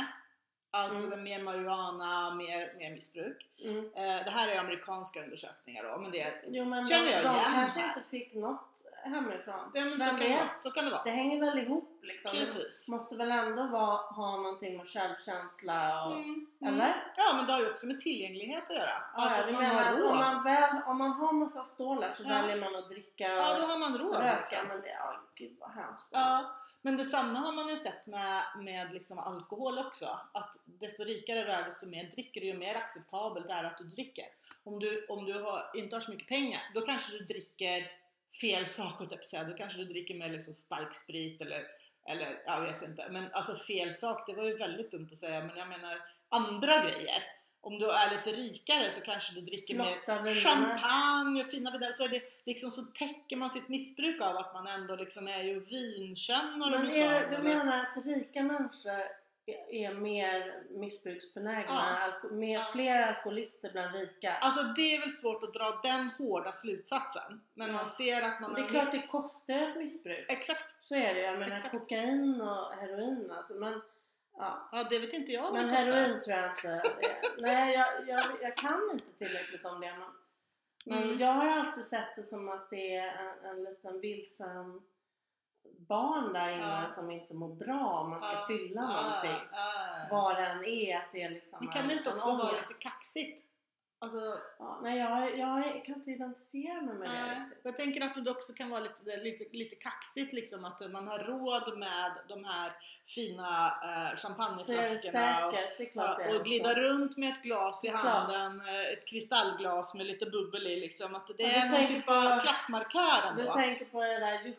Alltså Mm. mer marijuana, mer, mer missbruk. Mm. Eh, det här är amerikanska undersökningar då, men det är... Jo men eh, Känner de, jag de igen kanske här? inte fick något hemifrån. Ja, men Vem så, kan det, vet? vara. så kan det vara. det hänger väl ihop liksom. Precis. Det måste väl ändå vara, ha någonting med självkänsla och... Mm, mm. Eller? Ja, men det har ju också med tillgänglighet att göra. Ja, alltså ja, att du man menar har att om råd. man, väl, om man har massa stålar så Ja. väljer man att dricka och Ja, då har man råd. röka. liksom. Men det, ja gud vad hemskt. Ja, men detsamma har man ju sett med, med liksom alkohol också. Att desto rikare du är, desto mer dricker du. Ju mer acceptabelt är det att du dricker. Om du, om du har, inte har så mycket pengar, då kanske du dricker fel sak, höll jag på att säga. Då kanske du dricker med liksom stark sprit eller, eller jag vet inte. Men alltså fel sak, det var ju väldigt dumt att säga. Men jag menar andra grejer. Om du är lite rikare så kanske du dricker mer Flotta viner. champagne och fina viner. Så, är det liksom, så täcker man sitt missbruk av att man ändå liksom är ju vinkännare Men och är, sånt, du eller? menar att rika människor är, är mer missbruksbenägna? Ja. Alko, mer, Ja. Fler alkoholister bland rika? Alltså det är väl svårt att dra den hårda slutsatsen. Men Ja. man ser att man det är klart det kostar ju ett missbruk. Exakt! Så är det ju. Jag menar Exakt. kokain och heroin alltså. Men Ja. Ja, det vet inte jag vad Men det kostar. heroin tror jag inte. Nej, jag, jag, jag kan inte tillräckligt om det. Men, men Mm. jag har alltid sett det som att det är en, en liten vilsen barn där inne Ja. som inte mår bra om man ska Ja. fylla Ah, någonting. ah. Vad det än är, att det är liksom Men kan det inte en också vara ångest. lite kaxigt? Alltså, Ja, nej, jag, jag kan inte identifiera mig med det nej. riktigt. jag tänker att det också kan vara lite, lite, lite kaxigt liksom att man har råd med de här fina eh, Så är det champagneflaskorna och, säkert, det är klart det ja, är och glida också. runt med ett glas i Klart. handen, eh, ett kristallglas med lite bubbel i liksom. Att det Men är du någon tänker typ av på- klassmarkör Du ändå. tänker på det där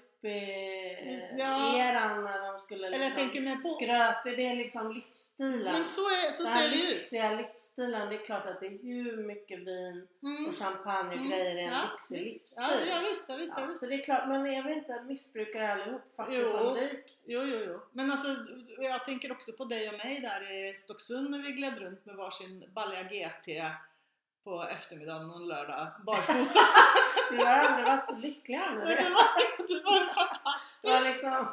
Ja. yuppie-eran när de skulle liksom Eller jag tänker med på... skröt. Är det liksom livsstilen? Men så, är, så den här ser det ut. lyxiga livsstilen, det är klart att det är hur mycket vin Mm. och champagne och Mm. grejer i en Ja, lyxig visst. Ja, livsstil. ja, visst, ja, visst, ja, Ja, visst. så det är klart, men är vi inte missbrukare allihop? Jo. Faktiskt som rik? Jo, jo, jo. Men alltså, jag tänker också på dig och mig där i Stocksund när vi gled runt med varsin balja GT på eftermiddagen någon lördag barfota. Vi har aldrig varit så lyckliga över det, det. var, det var Det var fantastiskt! liksom...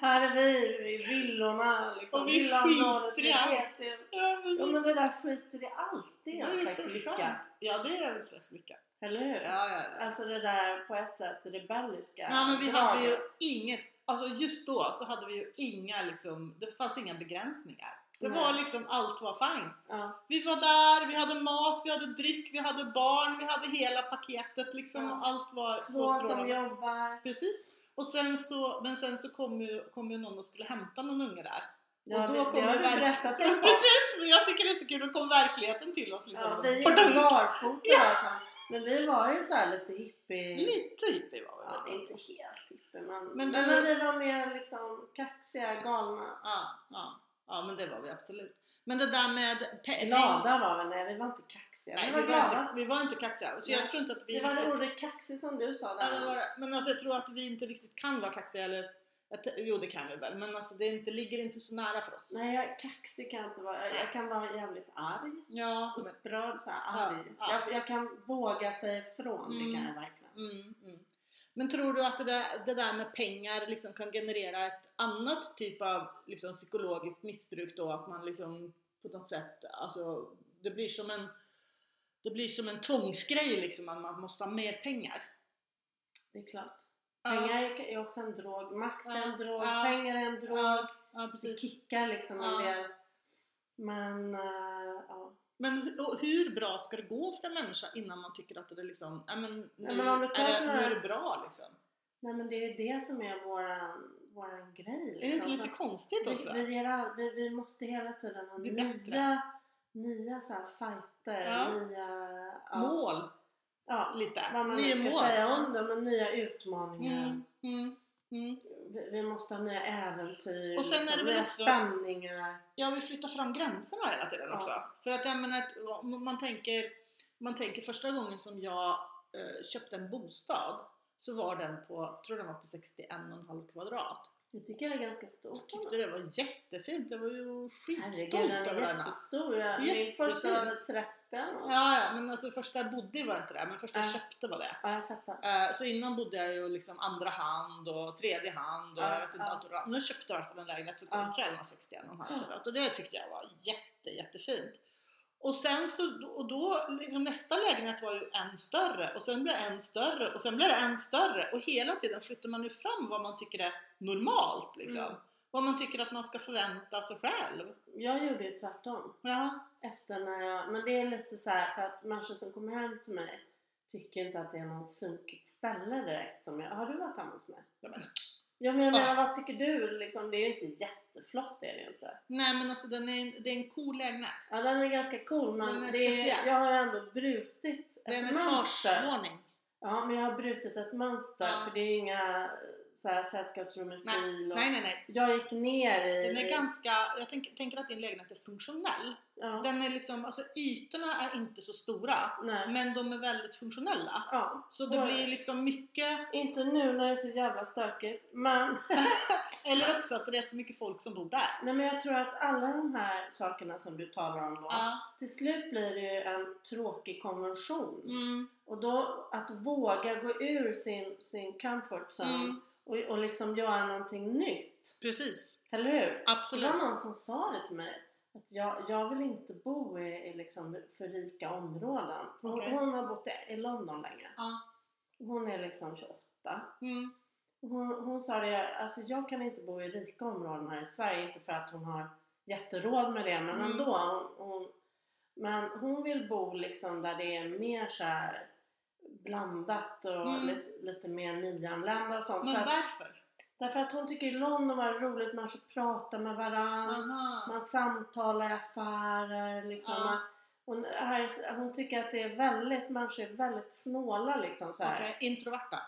Här är vi i villorna liksom. Och vi Villan norrut, skiter i allt. vet det. Ja, precis. Ja men det där skiter i allt. Det är Det en är slags så lycka. skönt. Ja, det är en slags lycka. Eller hur? Ja, ja, ja. Alltså det där på ett sätt rebelliska Nej, men vi hade ju draget. inget, alltså just då så hade vi ju inga liksom, det fanns inga begränsningar. Det Nej. var liksom, allt var fine. Ja. Vi var där, vi hade mat, vi hade dryck, vi hade barn, vi hade hela paketet liksom. Ja. och Allt var så Två som strålande. jobbar. Precis. Och sen så, men sen så kom ju, kom ju någon och skulle hämta någon unge där. Ja, och det, det har ju du verk- berättat Ja, om. Precis! Men jag tycker det är så kul, då kom verkligheten till oss liksom. Ja, vi gick Pardon. barfota alltså. Men vi var ju så här lite hippie. Lite hippie var vi Ja, väl. inte helt hippie men, Men men, du- men vi var mer liksom kaxiga, galna. Ja, ja, ja, men det var vi absolut. Men det där med pe- Glada var vi, nej vi var inte kaxiga. Nej, vi var vi, var glada. inte, vi var inte kaxiga. Så jag Nej. tror inte att vi det var det riktigt... ordet kaxig som du sa Ja, det var där. det. Men alltså jag tror att vi inte riktigt kan vara kaxiga eller... jag t- Jo det kan vi väl, men alltså det är inte, ligger inte så nära för oss. Nej, jag, kaxig kan jag inte vara. Jag, jag kan vara jävligt arg. Ja, men... Upprörd, så här, Ja, arg. ja. Jag, jag kan våga säga ifrån, det Mm. kan jag verkligen. Mm, mm. Men tror du att det där, det där med pengar liksom kan generera ett annat typ av liksom psykologiskt missbruk då? Att man liksom på något sätt, alltså det blir som en, det blir som en tvångsgrej liksom att man måste ha mer pengar. Det är klart. Ja, Pengar är är också en drog. Makt är Ja, en drog. ja, Pengar är en drog. ja, ja det precis. kickar liksom Ja. en del. Men eh, ja. Men hu- och hur bra ska det gå för en människa innan man tycker att det är liksom, ja men nu, men om du tar är, det, såna nu här- är det bra liksom. Nej men det är ju det som är våran, våran grej. Är det inte liksom. lite Så konstigt också? vi, vi, är, all- vi, vi måste hela tiden ha Bli nya, bättre. nya så här fighter, Ja. nya... Ja, Mål Ja, lite, vad man nu nya ska mål. säga om det, men nya utmaningar. Mm, mm, mm. Vi, vi måste ha nya äventyr, liksom Och sen är det väl nya också- spänningar. Ja, vi flyttar fram gränserna hela tiden Ja. också. För att jag menar, om man tänker, man tänker första gången som jag eh, köpte en bostad så var den på, tror den var på 61,5 kvadrat. Det tycker jag är ganska stort. Jag tyckte det var jättefint, jag var ju skitstolt Herregud, den över är den. här. jättestor. Jag- Min Jättefin. första var väl 30 eller något. Ja, ja, men alltså första jag bodde i var inte det, men första jag Ja. köpte var det. Ja, jag fattar. Eh, Så innan bodde jag ju liksom andra hand och tredje hand och Ja, jag vet inte ja. allt vad det var. Men jag köpte i alla fall en lägenhet så Ja. kom trällan 61,5 Ja. kvadrat och det tyckte jag var jätte, jättefint. Och sen så, och då, liksom nästa lägenhet var ju en större och sen blev det en större och sen blev det en större och hela tiden flyttar man ju fram vad man tycker är normalt liksom. Mm. Vad man tycker att man ska förvänta sig själv. Jag gjorde ju tvärtom. Jaha. efter när jag, men det är lite så här för att människor som kommer hem till mig tycker inte att det är någon sunkigt ställe direkt som jag, har du varit hemma hos mig? Ja, men- Ja men jag Ja. menar vad tycker du liksom, det är ju inte jätteflott det är det ju inte. Nej men alltså den är, det är en cool lägenhet. Ja den är ganska cool men Den är det är, speciell. jag har ju ändå brutit Det är ett en mönster. etagevåning. Ja men jag har brutit ett mönster Ja. för det är ju inga så här sällskapsrum med fil och Nej nej nej. jag gick ner i Den är ganska, jag tänk, tänker att din lägenhet är funktionell. Ja. Den är liksom, alltså ytorna är inte så stora Nej. men de är väldigt funktionella. Ja. Så det Oj. blir liksom mycket, Inte nu när det är så jävla stökigt. Men, eller också att det är så mycket folk som bor där. nej, men jag tror att alla de här sakerna som du talar om då. Ja. Till slut blir det ju en tråkig konvention. Mm, Och då att våga gå ur sin, sin comfort zone Mm. och, och liksom göra någonting nytt. precis, Eller hur? Det absolut. var någon som sa det till mig. Att jag, jag vill inte bo i, i liksom för rika områden. Hon, Okej. hon har bott i- i London länge. Ja. Hon är liksom 28. Mm, Hon, hon sa det, alltså jag kan inte bo i rika områden här i Sverige. Inte för att hon har jätteråd med det, men Mm. ändå. Hon, hon, men hon vill bo liksom där det är mer så här blandat och Mm. lite, lite mer nyanlända och sånt. men Så att, varför? därför att hon tycker i London var det roligt, man så pratar med varandra. Aha. Man samtalar i affärer liksom. Ja. Man, hon, här, hon tycker att det är väldigt, människor är väldigt snåla liksom så här. Okej, introverta.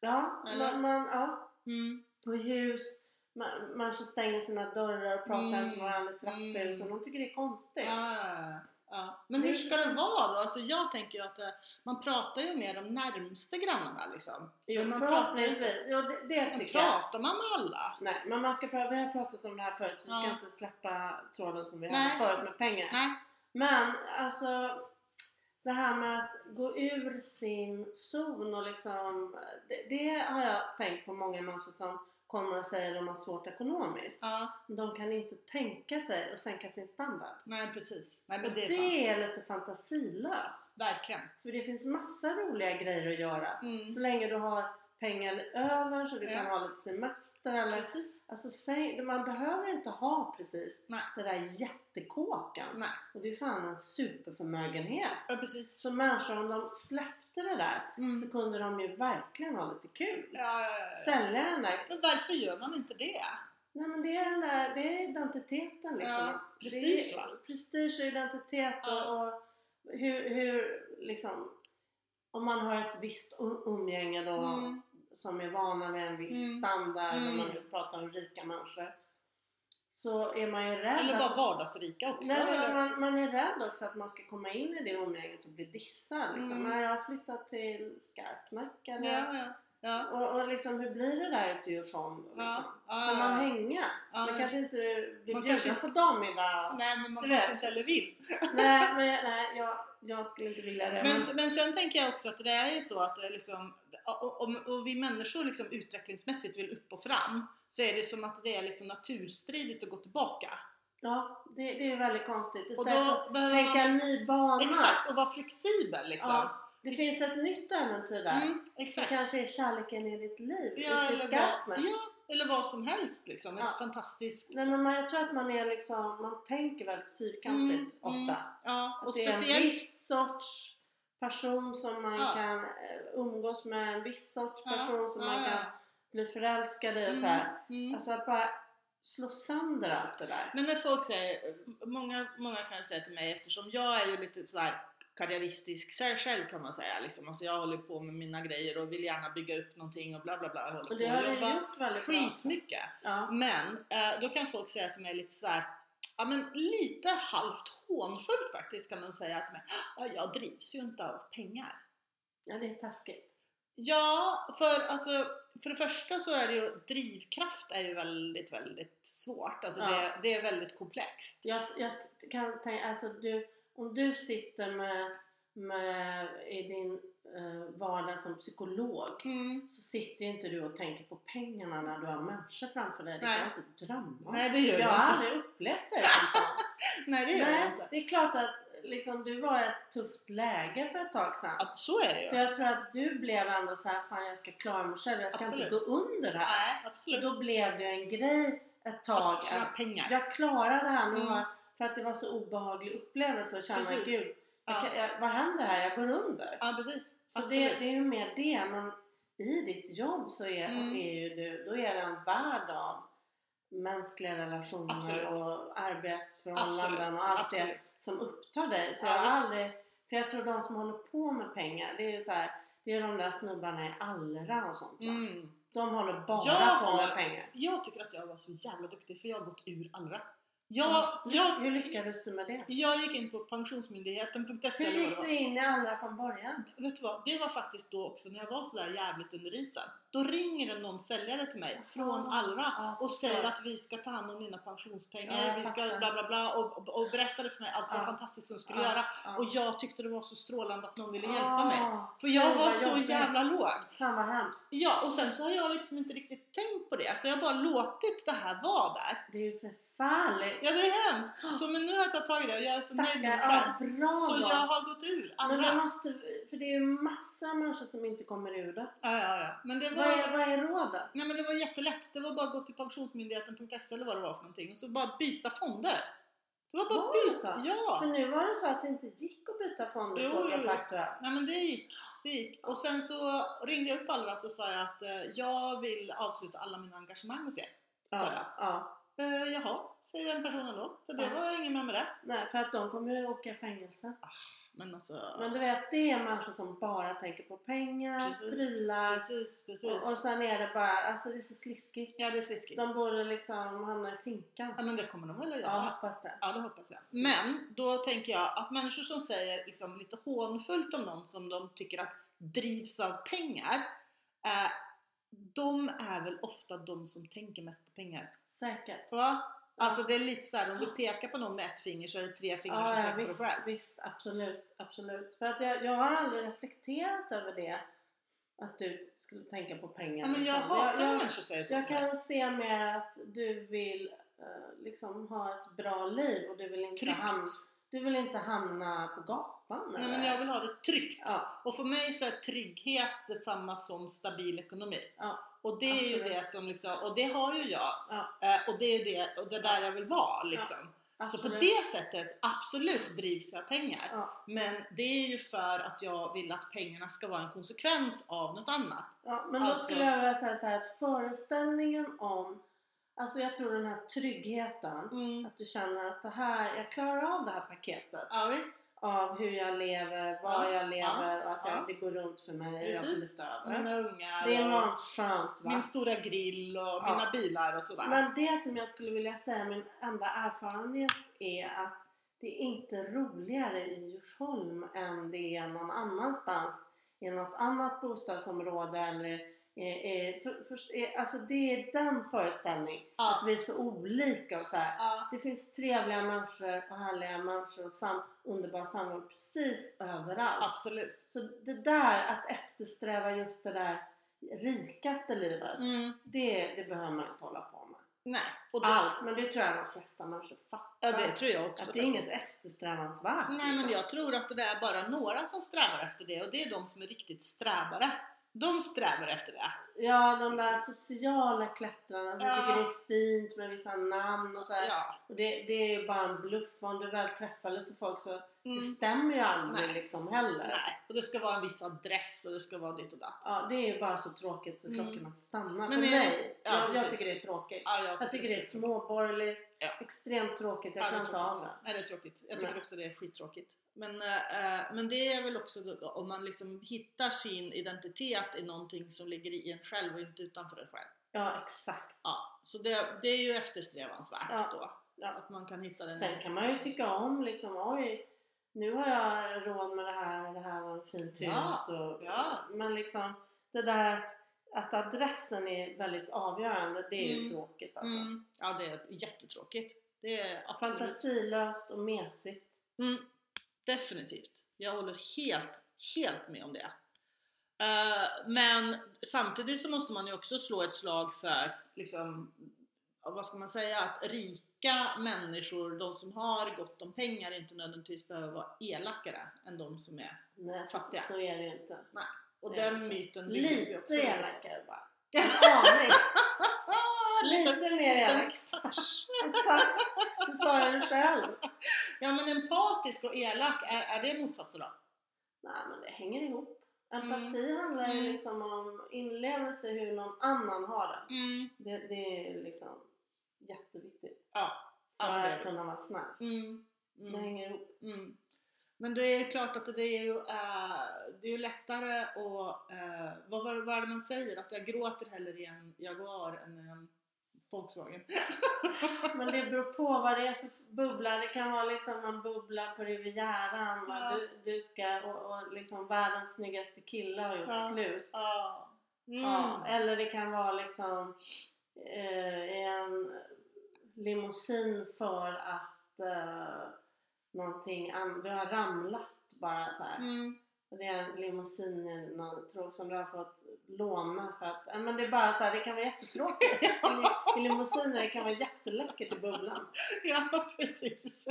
Ja, Eller? man, man, ja. Mm, Och i hus, man, människor stänger sina dörrar och pratar Mm, inte med varandra i trapphus. mm. och Hon tycker det är konstigt. ja, ja, ja, ja. Men hur ska det vara då? Alltså jag tänker ju att eh, man pratar ju med de närmste grannarna liksom. Jo, Men man förhoppningsvis. Jo, det, det Men tycker jag. pratar man med alla? Nej, men man ska pröva, vi har pratat om det här förut så vi ska Ja. inte släppa tråden som vi Nej. hade förut med pengar. Nej. Men alltså det här med att gå ur sin zon och liksom det, det har jag tänkt på många människor som kommer och säger att de har svårt ekonomiskt. Ja, Men de kan inte tänka sig att sänka sin standard. nej precis. Nej Och men det är sant. det är lite fantasilöst. Verkligen. För det finns massa roliga grejer att göra. Mm. Så länge du har pengar över så du Ja. kan ha lite semester eller... Precis. Alltså säg, man behöver inte ha precis Nej. det där jättekåkan. Nej, Och det är fan en superförmögenhet. ja, precis. Så människor om de släppte det där Mm. så kunde de ju verkligen ha lite kul. Ja, ja, ja, ja. Sälja den där... Men varför gör man inte det? Nej men det är den där, det är identiteten liksom. Ja, att det är- prestige, va? Prestige och identitet och, och hur, hur liksom... Om man har ett visst u- umgänge då Mm. som är vana vid en viss Mm. standard när Mm. man nu pratar om rika människor så är man ju rädd Eller att- bara vardagsrika också? Nej, men eller? man, man är rädd också att man ska komma in i det umgänget och bli dissad. Liksom. Mm. Men jag har flyttat till Skarpnäck eller... ja, ja, ja. Och, och liksom, hur blir det där ute i Djursholm? Liksom? Ja, ja, Kan ja. man hänga? Ja, man men- kanske inte blir Man bjuden kanske på dammiddag. Nej, men man Du kanske vet. inte heller vill. nej, men, nej jag, jag skulle inte vilja det. Men, men sen tänker jag också att det är ju så att det är liksom, och, och, och vi människor liksom utvecklingsmässigt vill upp och fram så är det som att det är liksom naturstridigt att gå tillbaka. ja, det, det är väldigt konstigt. Och Istället för då att behöver tänka man, en ny bana. exakt, och vara flexibel liksom. Ja, det Visst. finns ett nytt äventyr där. Mm, Det exakt. kanske är kärleken i ditt liv. Ja ute i eller, vad, Skarpnäck. ja, eller vad som helst liksom. Ja. Ett fantastiskt... Nej men man, jag tror att man är liksom, man tänker väldigt Mm, fyrkantigt mm, ofta. ja, Att och det är en speciellt... viss sorts person som man Ja. kan eh, umgås med, en viss sorts Ja, person som man ja, kan bli förälskad i och så här. Mm. Alltså att bara slå sönder allt det där. Men när folk säger, många, många kan säga till mig eftersom jag är ju lite sådär karriäristisk själv- själv kan man säga liksom. Alltså jag håller på med mina grejer och vill gärna bygga upp någonting och bla bla bla. Jag Och det håller på har och du jobbar gjort väldigt bra. skitmycket. Ja. Men eh, då kan folk säga till mig lite sådär Ja men lite halvt hånfullt faktiskt kan de säga till mig. Ja, jag drivs ju inte av pengar. ja, det är taskigt. Ja, för, alltså, för det första så är det ju drivkraft är ju väldigt, väldigt svårt. Alltså Ja. det, det är väldigt komplext. Jag, jag kan tänka, alltså du, om du sitter med, med i din eh, vardag som psykolog Mm. så sitter ju inte du och tänker på pengarna när du har människor framför dig. Det Nej. kan jag inte drömma om. Nej, det gör Jag har jag inte. aldrig upplevt det. Liksom. Nej, det gör jag Nej, inte. det är klart att liksom, du var i ett tufft läge för ett tag sedan. Att så är det Så ju. jag tror att du blev ändå så här, fan jag ska klara mig själv, jag ska inte gå Absolut. under det här. Nej, Och absolut. då blev det ju en grej ett tag. Att tjäna att pengar. jag klarar det här nu Mm. för att det var så obehaglig upplevelse och känna Precis. gud, jag, Ja, kan- jag, vad händer här? Jag går under. ja precis. Så det, Absolut. det är ju mer det, men i ditt jobb så är, Mm. är ju du, då är det en värld av mänskliga relationer Absolut. och arbetsförhållanden Absolut. och allt det Absolut. som upptar dig. Så Ja, jag har visst. aldrig, för jag tror de som håller på med pengar, det är ju så här, det är de där snubbarna i Allra och sånt. va? Mm. De håller bara Jag på med har- pengar. Jag tycker att jag var så jävla duktig för jag har gått ur Allra. Jag, jag, Mm. Hur lyckades du med det? jag gick in på pensionsmyndigheten.se Hur eller vad det gick var. du in i alla från början? Vet du vad? Det var faktiskt då också när jag var sådär jävligt under isen. Då ringer det någon säljare till mig från Allra Ja, och säger Ah. ja. att vi ska ta hand om dina pensionspengar, Ja, jag vi ska fattar. bla bla bla och, och, och berättade för mig allt vad Ja. fantastiskt de skulle Ja, göra. ja. Och jag tyckte det var så strålande att någon ville hjälpa mig. Ah, För jag gud, var vad så jobbigt. jävla låg. Fan vad hemskt. Ja, och sen så har jag liksom inte riktigt tänkt på det. Så jag har bara låtit det här vara där. Det är ju förfärligt. Ja, det är hemskt! Så men nu har jag tagit tag i det och jag är så nöjd med Stackare. mig själv. Ja, bra Så då. jag har gått ur Men man Allra. måste, för det är ju massa människor som inte kommer ur det. Ja, ja, ja. Men det var... Vad är, vad är rådet? Nej men det var jättelätt. Det var bara att gå till pensionsmyndigheten.se eller vad det var för någonting och så bara byta fonder. Det var bara Var det byta. så? För Ja! nu var det så att det inte gick att byta fonder Jo, såg jag jo, på jo. Aktuellt. Nej men det gick. Det gick. Och sen så ringde jag upp alla och så sa jag att eh, jag vill avsluta alla mina engagemang hos er. Ja, Så jag. ja. Eh, jaha, säger den personen då. Så det Ja. var ingen mer med det. Nej, för att de kommer ju åka i fängelse. Men alltså, Men du vet, det är människor som bara tänker på pengar, Precis. prylar precis, precis. eh, och, och sen är det bara, alltså det är så sliskigt. ja det är sliskigt. De borde liksom hamna i finkan. Ja men det kommer de väl att Ja, göra. hoppas det. Ja, det hoppas jag. Men då tänker jag att människor som säger liksom lite hånfullt om någon som de tycker att drivs av pengar, eh, de är väl ofta de som tänker mest på pengar. Säkert. Va? Alltså det är lite så här, om du pekar på någon med ett finger så är det tre fingrar som Ja, pekar ja, på dig visst, själv. visst, absolut, absolut. För att jag, jag har aldrig reflekterat över det, att du skulle tänka på pengar. Ja, men jag liksom. hatar när jag, människor säger så. jag till mig. kan se mer att du vill eh, liksom ha ett bra liv och du vill inte, Tryggt. hamna, du vill inte hamna på gatan. Nej, eller? men jag vill ha det tryggt. Ja, Och för mig så är trygghet detsamma som stabil ekonomi. ja, Och det är ju Absolut. det som liksom, och det har ju jag. ja, Eh, och det är det, och det där jag vill vara liksom. Så absolut. på det sättet, absolut drivs jag av pengar. Ja, Men det är ju för att jag vill att pengarna ska vara en konsekvens av något annat. ja, men då Alltså- skulle jag vilja säga så här att föreställningen om, alltså jag tror den här tryggheten, Mm. att du känner att det här, jag klarar av det här paketet. Ja, visst. av hur jag lever, var Ja, jag lever och att ja. jag, det går runt för mig och jag Precis. får lite över. Mina ungar Det är och enormt skönt va? min stora grill och Ja. mina bilar och sådär. Men det som jag skulle vilja säga, min enda erfarenhet är att det är inte roligare i Djursholm än det är någon annanstans i något annat bostadsområde eller eh, eh, för, för, eh, alltså det är den föreställningen, Ja. att vi är så olika och så här. Ja, Det finns trevliga människor och härliga människor och sam, underbar samvaro precis överallt. absolut. Så det där att eftersträva just det där rikaste livet, Mm. det, det behöver man inte hålla på med. Nej, och det, Alls, men det tror jag de flesta människor fattar. ja, det tror jag också att det är faktiskt. inget eftersträvansvärt. liksom. Nej men jag tror att det är bara några som strävar efter det och det är de som är riktigt strävare. De strävar efter det. Ja, de där sociala klättrarna som Ja. tycker det är fint med vissa namn och så här. Ja. Och det, det är ju bara en bluff. Om du väl träffar lite folk så det Mm. stämmer ju aldrig Nej. liksom heller. Nej, och det ska vara en viss adress och det ska vara ditt och datt. Ja, det är ju bara så tråkigt så Mm. klockan att stanna. Men För är det- mig, Ja, jag, jag precis. tycker det är tråkigt. Ja, Jag tycker det är också- småborgerligt, Ja. extremt tråkigt, jag Ja, det klarar är inte av tråkigt. det. Nej, det är tråkigt. Jag tycker Nej. också det är skittråkigt. Men, eh, eh, men det är väl också då- om man liksom hittar sin identitet i någonting som ligger i en själv och inte utanför en själv. Ja, exakt. Ja, så det, det är ju eftersträvansvärt Ja. då. Ja. Att man kan hitta den. Sen kan man ju tycka om liksom, oj, nu har jag råd med det här, det här var ett fint Ja, hus. Och, ja. Men liksom, det där att adressen är väldigt avgörande, det är ju Mm. tråkigt alltså. Mm, ja, det är jättetråkigt. Det är absolut. Fantasilöst och mesigt. Mm, definitivt. Jag håller helt, helt med om det. Eh, men samtidigt så måste man ju också slå ett slag för, liksom, ja, vad ska man säga, att rika människor, de som har gott om pengar, inte nödvändigtvis behöver vara elakare än de som är. Nej, så, Fattiga. så är det ju inte. Och Det är den det. myten byggs ju också. Lite lite. elakare bara. En aning. Ah, lite Lite mer elak. touch. Tack. Du sa ju det själv. Ja men empatisk och elak, är, är det motsatser då? Nej, men det hänger ihop. Empati handlar ju Mm. liksom om inlevelse, hur någon annan har det. Mm. Det, det är liksom jätteviktigt Ja. för ja men det är att det. kunna vara snäll. Mm. Det Mm. hänger ihop. Mm. Men det är klart att det är ju, eh, det är ju lättare att... eh, vad, vad, vad är det man säger? Att jag gråter hellre i en Jaguar än i en Volkswagen. Men det beror på vad det är för bubbla. Det kan vara liksom en bubbla på Rivieran. Ja. och Du, du ska, och, och liksom världens snyggaste kille har gjort Ja. slut. Ja. Mm. Ja. Eller det kan vara liksom eh, i en limousin för att eh, någonting an- du har ramlat bara så här. Mm. Och det är en limousin i någon tro som du har fått låna för att, ja, men det är bara så här, det kan vara jättetråkigt. I, i limousiner det kan vara jätteläckert i bubblan. ja, precis.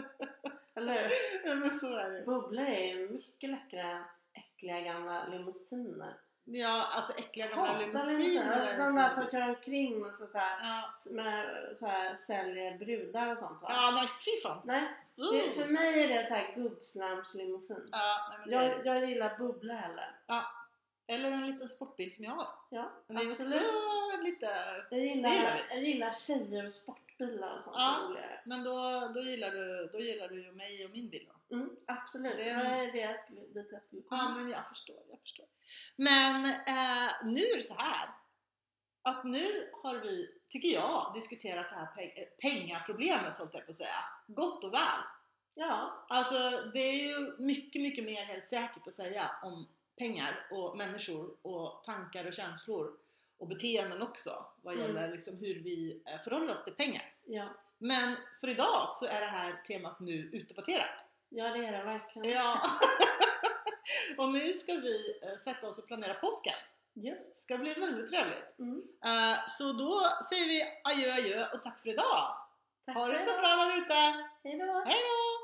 Eller hur? Ja, Men så är det. Bubblor är ju mycket läckra än äckliga gamla limousiner. Ja, alltså äckliga gamla Hatar limousiner. är De så där som mysigt. kör omkring och så så här, Ja. med, så här, säljer brudar och sånt va? ja, nej fy fan. Nej, det, för Uh. mig är det så här gubbslamslimousin. Ja, nej, men det är det. Jag, jag gillar bubblor hellre. Eller en liten sportbil som jag har. Ja, Men det är också absolut. lite... Jag gillar, Det gillar jag gillar tjejer och sportbilar och sånt. Ja. är roligare. Men då, då, gillar du, då gillar du ju mig och min bil då? Mm, absolut. Det Det är- är det, jag skulle, dit jag skulle komma. Ja, men jag förstår, jag förstår. Men eh, nu är det så här att nu har vi, tycker jag, diskuterat det här peng eh, pengaproblemet, höll jag på att säga, gott och väl. Ja, Alltså, det är ju mycket, mycket mer helt säkert att säga om pengar och människor och tankar och känslor och beteenden också vad Mm. gäller liksom hur vi eh, förhåller oss till pengar. ja, Men för idag så är det här temat nu utdebatterat. ja, det är det verkligen. Ja. och nu ska vi eh, sätta oss och planera påsken. Just. Det ska bli väldigt trevligt. Mm. Eh, Så då säger vi adjö adjö och tack för idag! Tack Ha det för så idag. bra där ute! Hej då! Hej då!